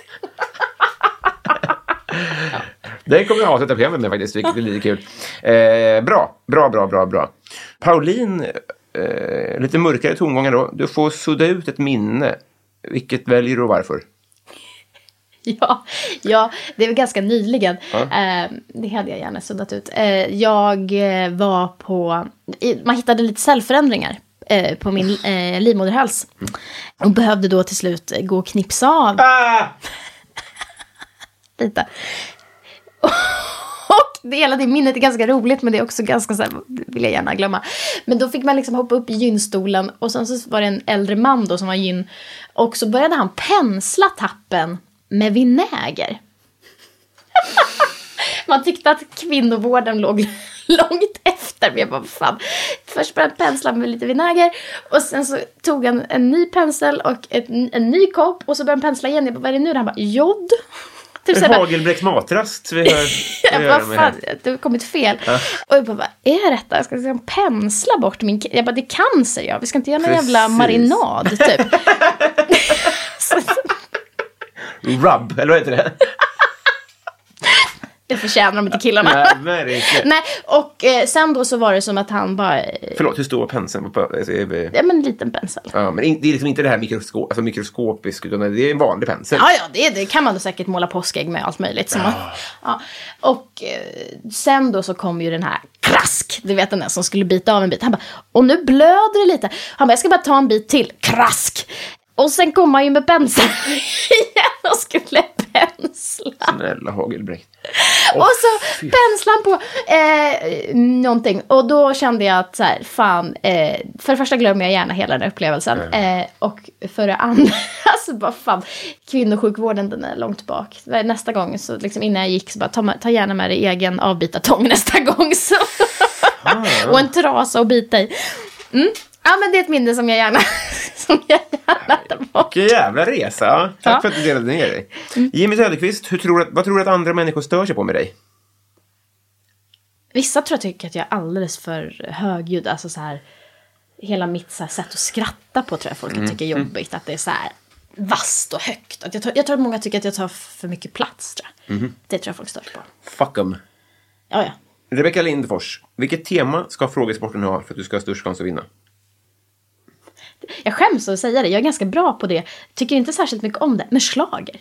Det kommer jag avsluta programmet med faktiskt, vilket är lite kul. Eh, bra, bra, bra, bra, bra. Pauline, eh, lite mörkare tongångar då. Du får sudda ut ett minne. Vilket väljer du och varför?
Ja, ja, det var ganska nyligen. Eh, det hade jag gärna suddat ut. Eh, jag eh, var på... I, man hittade lite cellförändringar eh, på min eh, livmoderhals. Och behövde då till slut eh, gå och knipsa av
Ah!
lite. Och det hela det minnet är ganska roligt men det är också ganska så här, det vill jag gärna glömma. Men då fick man liksom hoppa upp i gynstolen och sen så var det en äldre man då som var gyn. Och så började han pensla tappen med vinäger. Man tyckte att kvinnovården låg långt efter. Men jag bara, vad fan. Först började han pensla med lite vinäger. Och sen så tog han en ny pensel och ett, en ny kopp. Och så började han pensla igen. Jag bara, vad är det nu? Han bara, jod. Typ så här bara,
Hagelbräcks matrast. Vi hör,
jag
vi
bara,
hör med här.
fan, det har kommit fel. Och jag bara, vad är detta? Jag ska liksom pensla bort min... ca- Jag bara, det är cancer ja. Vi ska inte göra någon jävla
Precis.
marinad typ. så,
Rub, eller vad heter det?
det förtjänar de inte killarna.
Nej, verkligen.
Nej, och eh, sen då så var det som att han bara... eh,
Förlåt, hur stor var penseln? på- alltså, är vi-
Ja, men en liten pensel.
Ja, men in- det är liksom inte det här mikrosko- alltså mikroskopiskt, utan det är en vanlig pensel.
Ja, ja, det, det kan man då säkert måla påskägg med allt möjligt. Som man, ja. Och eh, sen då så kom ju den här krask, du vet den där som skulle bita av en bit. Han bara, och nu blöder det lite. Han bara, jag ska bara ta en bit till, krask. Och sen kom han ju med penseln igen och skulle pensla.
Snälla Hagelbräck.
och så penslan på eh, någonting. Och då kände jag att så här, fan, eh, för det första glömmer jag gärna hela den upplevelsen. Eh, och för det andra, alltså bara fan, kvinnosjukvården den är långt bak. Nästa gång, så liksom innan jag gick så bara, ta, ma- ta gärna med dig egen avbitartång nästa gång. Så. och en trasa att bita i. Mm. Ja men det är ett minne som jag gärna, som jag gärna tar bort.
Vilken jävla resa. Tack
Ja.
för att du delade ner dig. Jimmy Söderqvist, hur tror du, att- vad tror du att andra människor stör sig på med dig?
Vissa tror jag tycker att jag är alldeles för högljudd. Alltså så här, hela mitt så här sätt att skratta på tror jag folk
Mm,
tycker är jobbigt. Att det är så här vasst och högt. Att jag, tar, jag tror att många tycker att jag tar för mycket plats. Tror jag.
Mhm.
Det tror jag folk stör sig på.
Fuck em.
Ja, ja.
Rebecka Lindfors, vilket tema ska frågesporten ha för att du ska ha störst chans att vinna?
Jag skäms att säga det. Jag är ganska bra på det. Tycker inte särskilt mycket om det. Men schlager.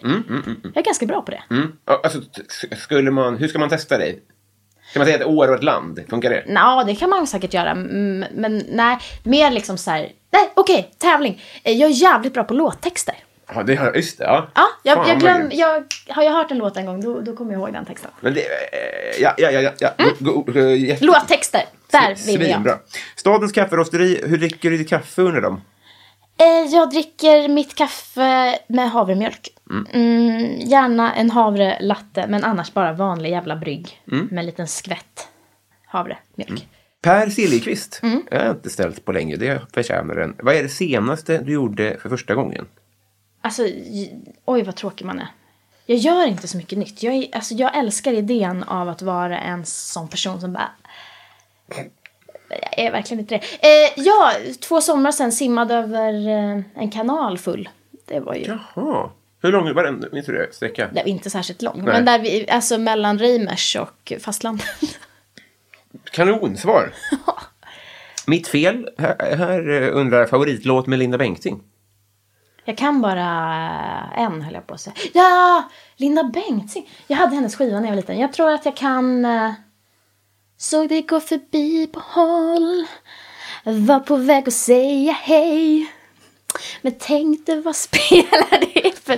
Jag är ganska bra på det.
Mm. Ja, Alltså, t- s- skulle man, hur ska man testa dig? Ska man säga ett år och ett land? Funkar det?
Ja, det kan man säkert göra. mm, Men nej, mer liksom så här. Nej, okej, tävling. Eh, Jag är jävligt bra på låttexter.
Ja, det har, just det. Ja,
Ja, jag,
Fan,
jag
vad
glöm,
grymt.
jag, har jag hört en låt en gång, då, då kommer jag ihåg den texten.
Men det, eh, ja, ja, ja, ja, ja. Go, go, eh, jätte-
Låttexter, Mm. där vinner jag.
Svinbra. Stadens kafferosteri, hur dricker du ditt kaffe under dem?
Eh, jag dricker mitt kaffe med havremjölk. Mm, gärna en havrelatte, men annars bara vanlig jävla brygg. Med en liten skvätt havremjölk.
Per Siljeqvist. Jag har inte ställt på länge, det förtjänar den. Vad är det senaste du gjorde för första gången?
Alltså, j- oj vad tråkig man är. Jag gör inte så mycket nytt. Jag, är, alltså, jag älskar idén av att vara en sån person som bara... Jag är verkligen inte det. Eh, ja, två somrar sedan simmade över eh, en kanal full. Det var ju...
Jaha. Hur lång var den? Minns du det? Sträcka?
Det var inte särskilt lång.
Nej.
Men där vi, alltså mellan Reimers och fastlandet.
Kanonsvar. Mitt fel. Här, här eh, undrar favoritlåt med Linda Bengtzing.
Jag kan bara en, höll jag på att säga. Ja! Linda Bengtzing. Jag hade hennes skiva när jag var liten. Jag tror att jag kan... eh, Såg dig gå förbi på håll. Var på väg att säga hej. Men tänkte vad spelar det för...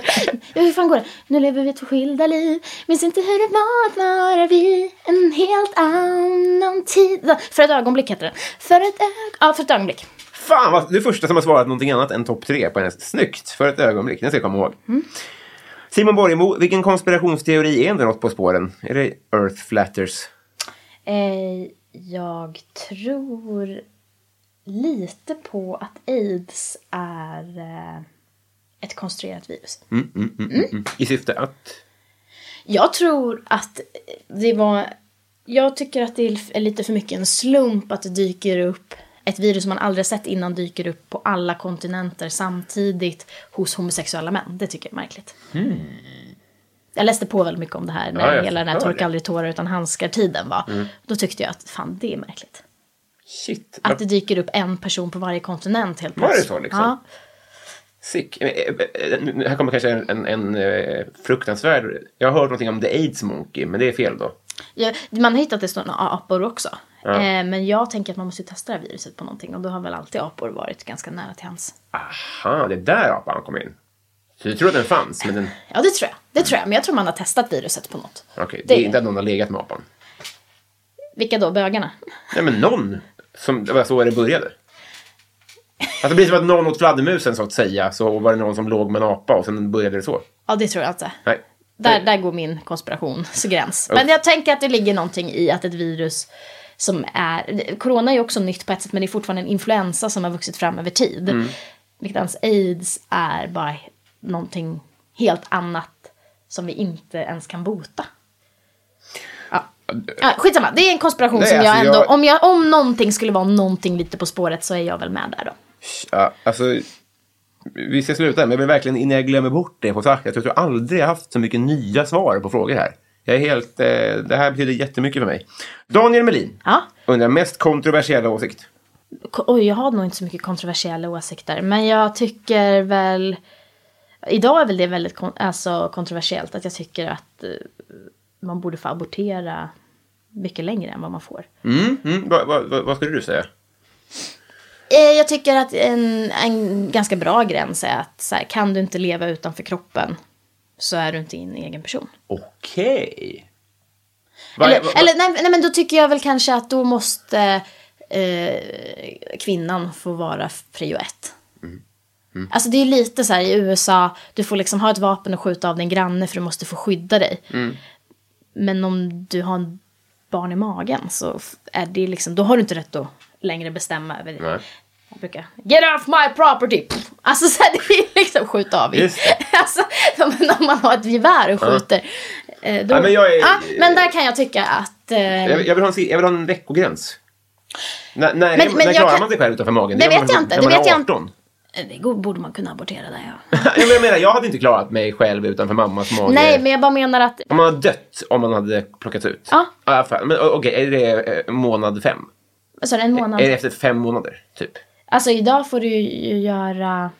Ja, hur fan går det? Nu lever vi två skilda liv. Minns inte hur det var att vara vi. En helt annan tid. Va? För ett ögonblick heter den. För ett ögonblick. Ja, för ett ögonblick.
Fan, vad, du är första som har svarat någonting annat än topp tre på hennes. Snyggt! För ett ögonblick, den ska jag komma ihåg. Simon Borgemo, vilken konspirationsteori är det något på spåren? Är det Earth Flatters?
Eh, jag tror lite på att aids är eh, ett konstruerat virus.
Mm, mm, mm, mm, mm. I syfte att...
Jag tror att det var... Jag tycker att det är lite för mycket en slump att det dyker upp ett virus som man aldrig sett innan dyker upp på alla kontinenter samtidigt hos homosexuella män. Det tycker jag är märkligt. Jag läste på väldigt mycket om det här
Hmm. Ja,
när
jag
hela den här
förstår det. Mm.
torka aldrig tårar utan handskar-tiden var. Då tyckte jag att fan, det är märkligt.
Shit,
Att det dyker upp en person på varje kontinent helt
Var det
plötsligt.
så, liksom?
Ja.
Sick. Eh, eh, eh, nu- Här kommer kanske en, en, en eh, fruktansvärd... Jag har hört någonting om The AIDS Monkey, men det är fel då.
Ja, man har hittat det sådana apor också. Eh, men jag tänker att man måste ju testa det här viruset på någonting och då har väl alltid apor varit ganska nära till hans.
Aha, det är där apan kom in. Så du tror att den fanns, men den...
Ja, det tror jag. Det tror jag. Men jag tror man har testat viruset på något.
Okej, det är
Det-
inte att någon har legat med apan.
Vilka då? Bögarna?
Nej, men någon. Som, det var så det började. Alltså, det blir som att någon åt fladdermusen, så att säga, så var det någon som låg med en apa och sen började det så.
Ja, det tror jag inte.
Nej. Eh.
Där, där går min konspirationsgräns. Men jag tänker att det ligger någonting i att ett virus som är... Corona är ju också nytt på ett sätt, men det är fortfarande en influensa som har vuxit fram över tid.
Mm.
Medan aids är bara någonting helt annat som vi inte ens kan bota. Ja. Ja, skitsamma, det är en konspiration
Nej,
som jag
alltså,
ändå...
jag-
Om, jag, om någonting skulle vara någonting lite på spåret så är jag väl med där då.
Ja, alltså, vi ska sluta, men jag vill verkligen innan jag glömmer bort det få sagt att jag tror aldrig jag haft så mycket nya svar på frågor här. Jag är helt, eh, det här betyder jättemycket för mig. Daniel Melin
Ja.
undrar mest kontroversiella åsikt.
Ko- Oj, jag har nog inte så mycket kontroversiella åsikter. Men jag tycker väl... Idag är väl det väldigt kon- alltså, kontroversiellt att jag tycker att eh, man borde få abortera mycket längre än vad man får.
Mm, mm, vad, vad, vad, vad skulle du säga?
Eh, Jag tycker att en, en ganska bra gräns är att så här, kan du inte leva utanför kroppen så är du inte en egen person.
Okej. Vad-
eller
vad-
eller nej, nej, men då tycker jag väl kanske att då måste eh, kvinnan få vara prio ett.
Mm.
Alltså det är ju lite så här i USA, du får liksom ha ett vapen och skjuta av din granne för du måste få skydda dig.
Mm.
Men om du har en barn i magen så f- är det liksom, då har du inte rätt att längre bestämma över det.
Nej.
Jag brukar, get off my property! Pff. Alltså så här, det är liksom skjuta av.
Just
Alltså, om om man har ett gevär och skjuter. eh, Då,
Ja, men jag är-
Ja, men där kan jag tycka att... eh,
Jag, jag, vill ha en, si- jag vill ha en veckogräns. När, när,
Men-
när
men jag
klarar
kan-
man sig själv utanför magen?
Det
gör man
vet
väl
jag inte,
när
det
man är
vet jag
18.
Det går- borde man kunna abortera där ja.
Ja, men jag menar, jag hade inte klarat mig själv utanför mammas mage.
Nej, men jag bara menar att...
Om man hade dött om man hade plockats ut?
Ja.
ja fan. men, o- Okej, är det eh, månad fem?
Vad sa du, alltså, en månad?
Är det efter fem månader, typ?
Alltså idag får du ju göra...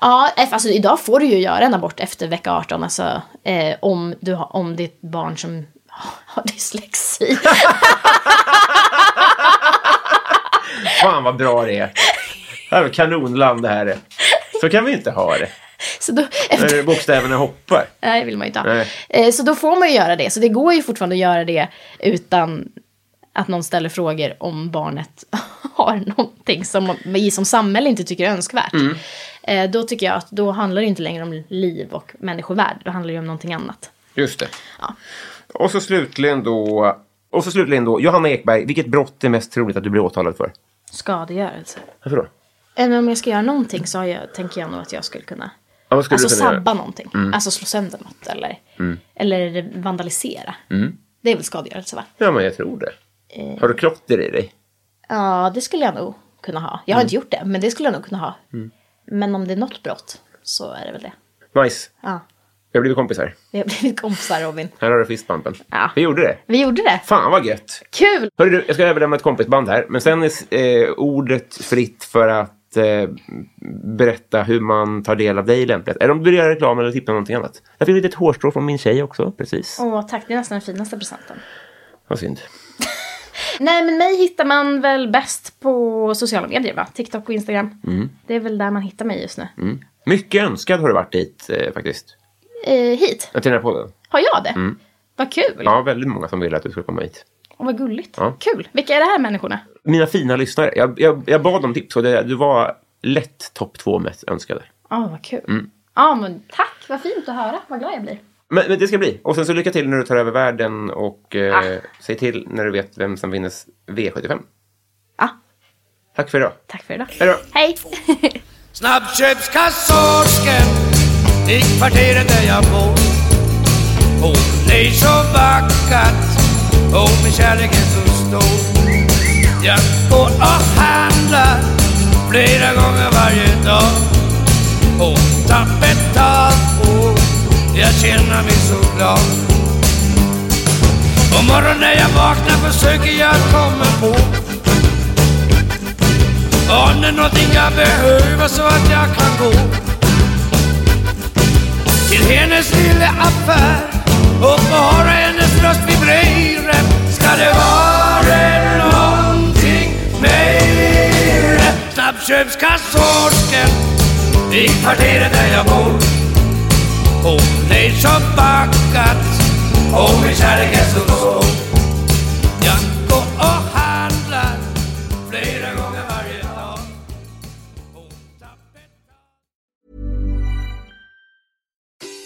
Ja, eff- alltså idag får du ju göra en abort efter vecka 18, alltså eh, om, du har, om ditt barn som har dyslexi.
Fan vad bra det är. Det här är kanonland det här är. Så kan vi inte ha det.
Så då,
När bokstäverna hoppar.
Nej, det vill man ju inte ha.
Nej.
Eh, Så då får man ju göra det. Så det går ju fortfarande att göra det utan att någon ställer frågor om barnet har någonting som man- vi som samhälle inte tycker är önskvärt.
Mm.
Eh, Då tycker jag att då handlar det inte längre om liv och människovärde. Då handlar det ju om någonting annat.
Just det.
Ja.
Och så slutligen då... Och så slutligen då, Johanna Ekberg, vilket brott är mest troligt att du blir åtalad för?
Skadegörelse.
Varför då?
Även om jag ska göra någonting så har jag, tänker jag nog att jag skulle kunna
Ja, vad skulle
alltså
du kunna göra? Mm.
sabba någonting. Alltså slå sönder något eller, eller vandalisera.
Mm.
Det är väl skadegörelse va?
Ja, men jag tror det.
Eh.
Har du klotter i dig?
Ja, det skulle jag nog kunna ha.
Mm.
Jag har inte gjort det, men det skulle jag nog kunna ha. Men om det är något brott så är det väl det.
Nice.
Ja,
Vi har blivit kompisar.
vi har blivit kompisar Robin.
Här har du fistbumpen.
Ja.
Vi gjorde det.
Vi gjorde det.
Fan vad gött.
Kul!
Hörru du, jag ska överlämna ett kompisband här. Men sen är eh, ordet fritt för att eh, berätta hur man tar del av dig lämpligt. Eller om du vill göra reklam eller tipsa om någonting annat. Jag fick ett litet hårstrå från min tjej också, precis.
Åh, tack. Det är nästan den finaste presenten.
Vad synd.
Nej, men mig hittar man väl bäst på sociala medier, va? TikTok och Instagram. Det är väl där man hittar mig just nu.
Mm. Mycket önskad har du varit hit eh, faktiskt.
Eh, hit?
Ja, Till den här podden.
Har jag det? Vad kul!
Mm. Ja, väldigt många som ville att du skulle komma hit.
Och vad gulligt.
Ja.
Kul! Vilka är det här människorna?
Mina fina lyssnare. Jag, jag, jag bad om tips och det, du var lätt topp två mest önskade.
Ja, vad kul. Ja,
Mm.
men tack! Vad fint att höra. Vad glad jag blir.
Men, men det ska bli. Och sen så lycka till när du tar över världen och eh, säg till när du vet vem som vinner V75.
Ja,
Tack för idag.
tack för idag.
Hej då.
Hej!
Snabbköpskassörsken i kvarteret där jag bor. Hon ler så vackert och min kärlek är så stor. Jag går och handlar flera gånger varje dag. Hon tar betalt och jag känner mig så glad. På morgonen när jag vaknar försöker jag komma på om det är någonting jag behöver så att jag kan gå Till hennes lilla affär och få höra hennes röst vibrera Ska det vara någonting mer Snabbköpskassörskan i kvarteret där jag bor Hon är så vackert och min kärlek är så stor Jag går och handlar flera gånger varje dag Hon tappar-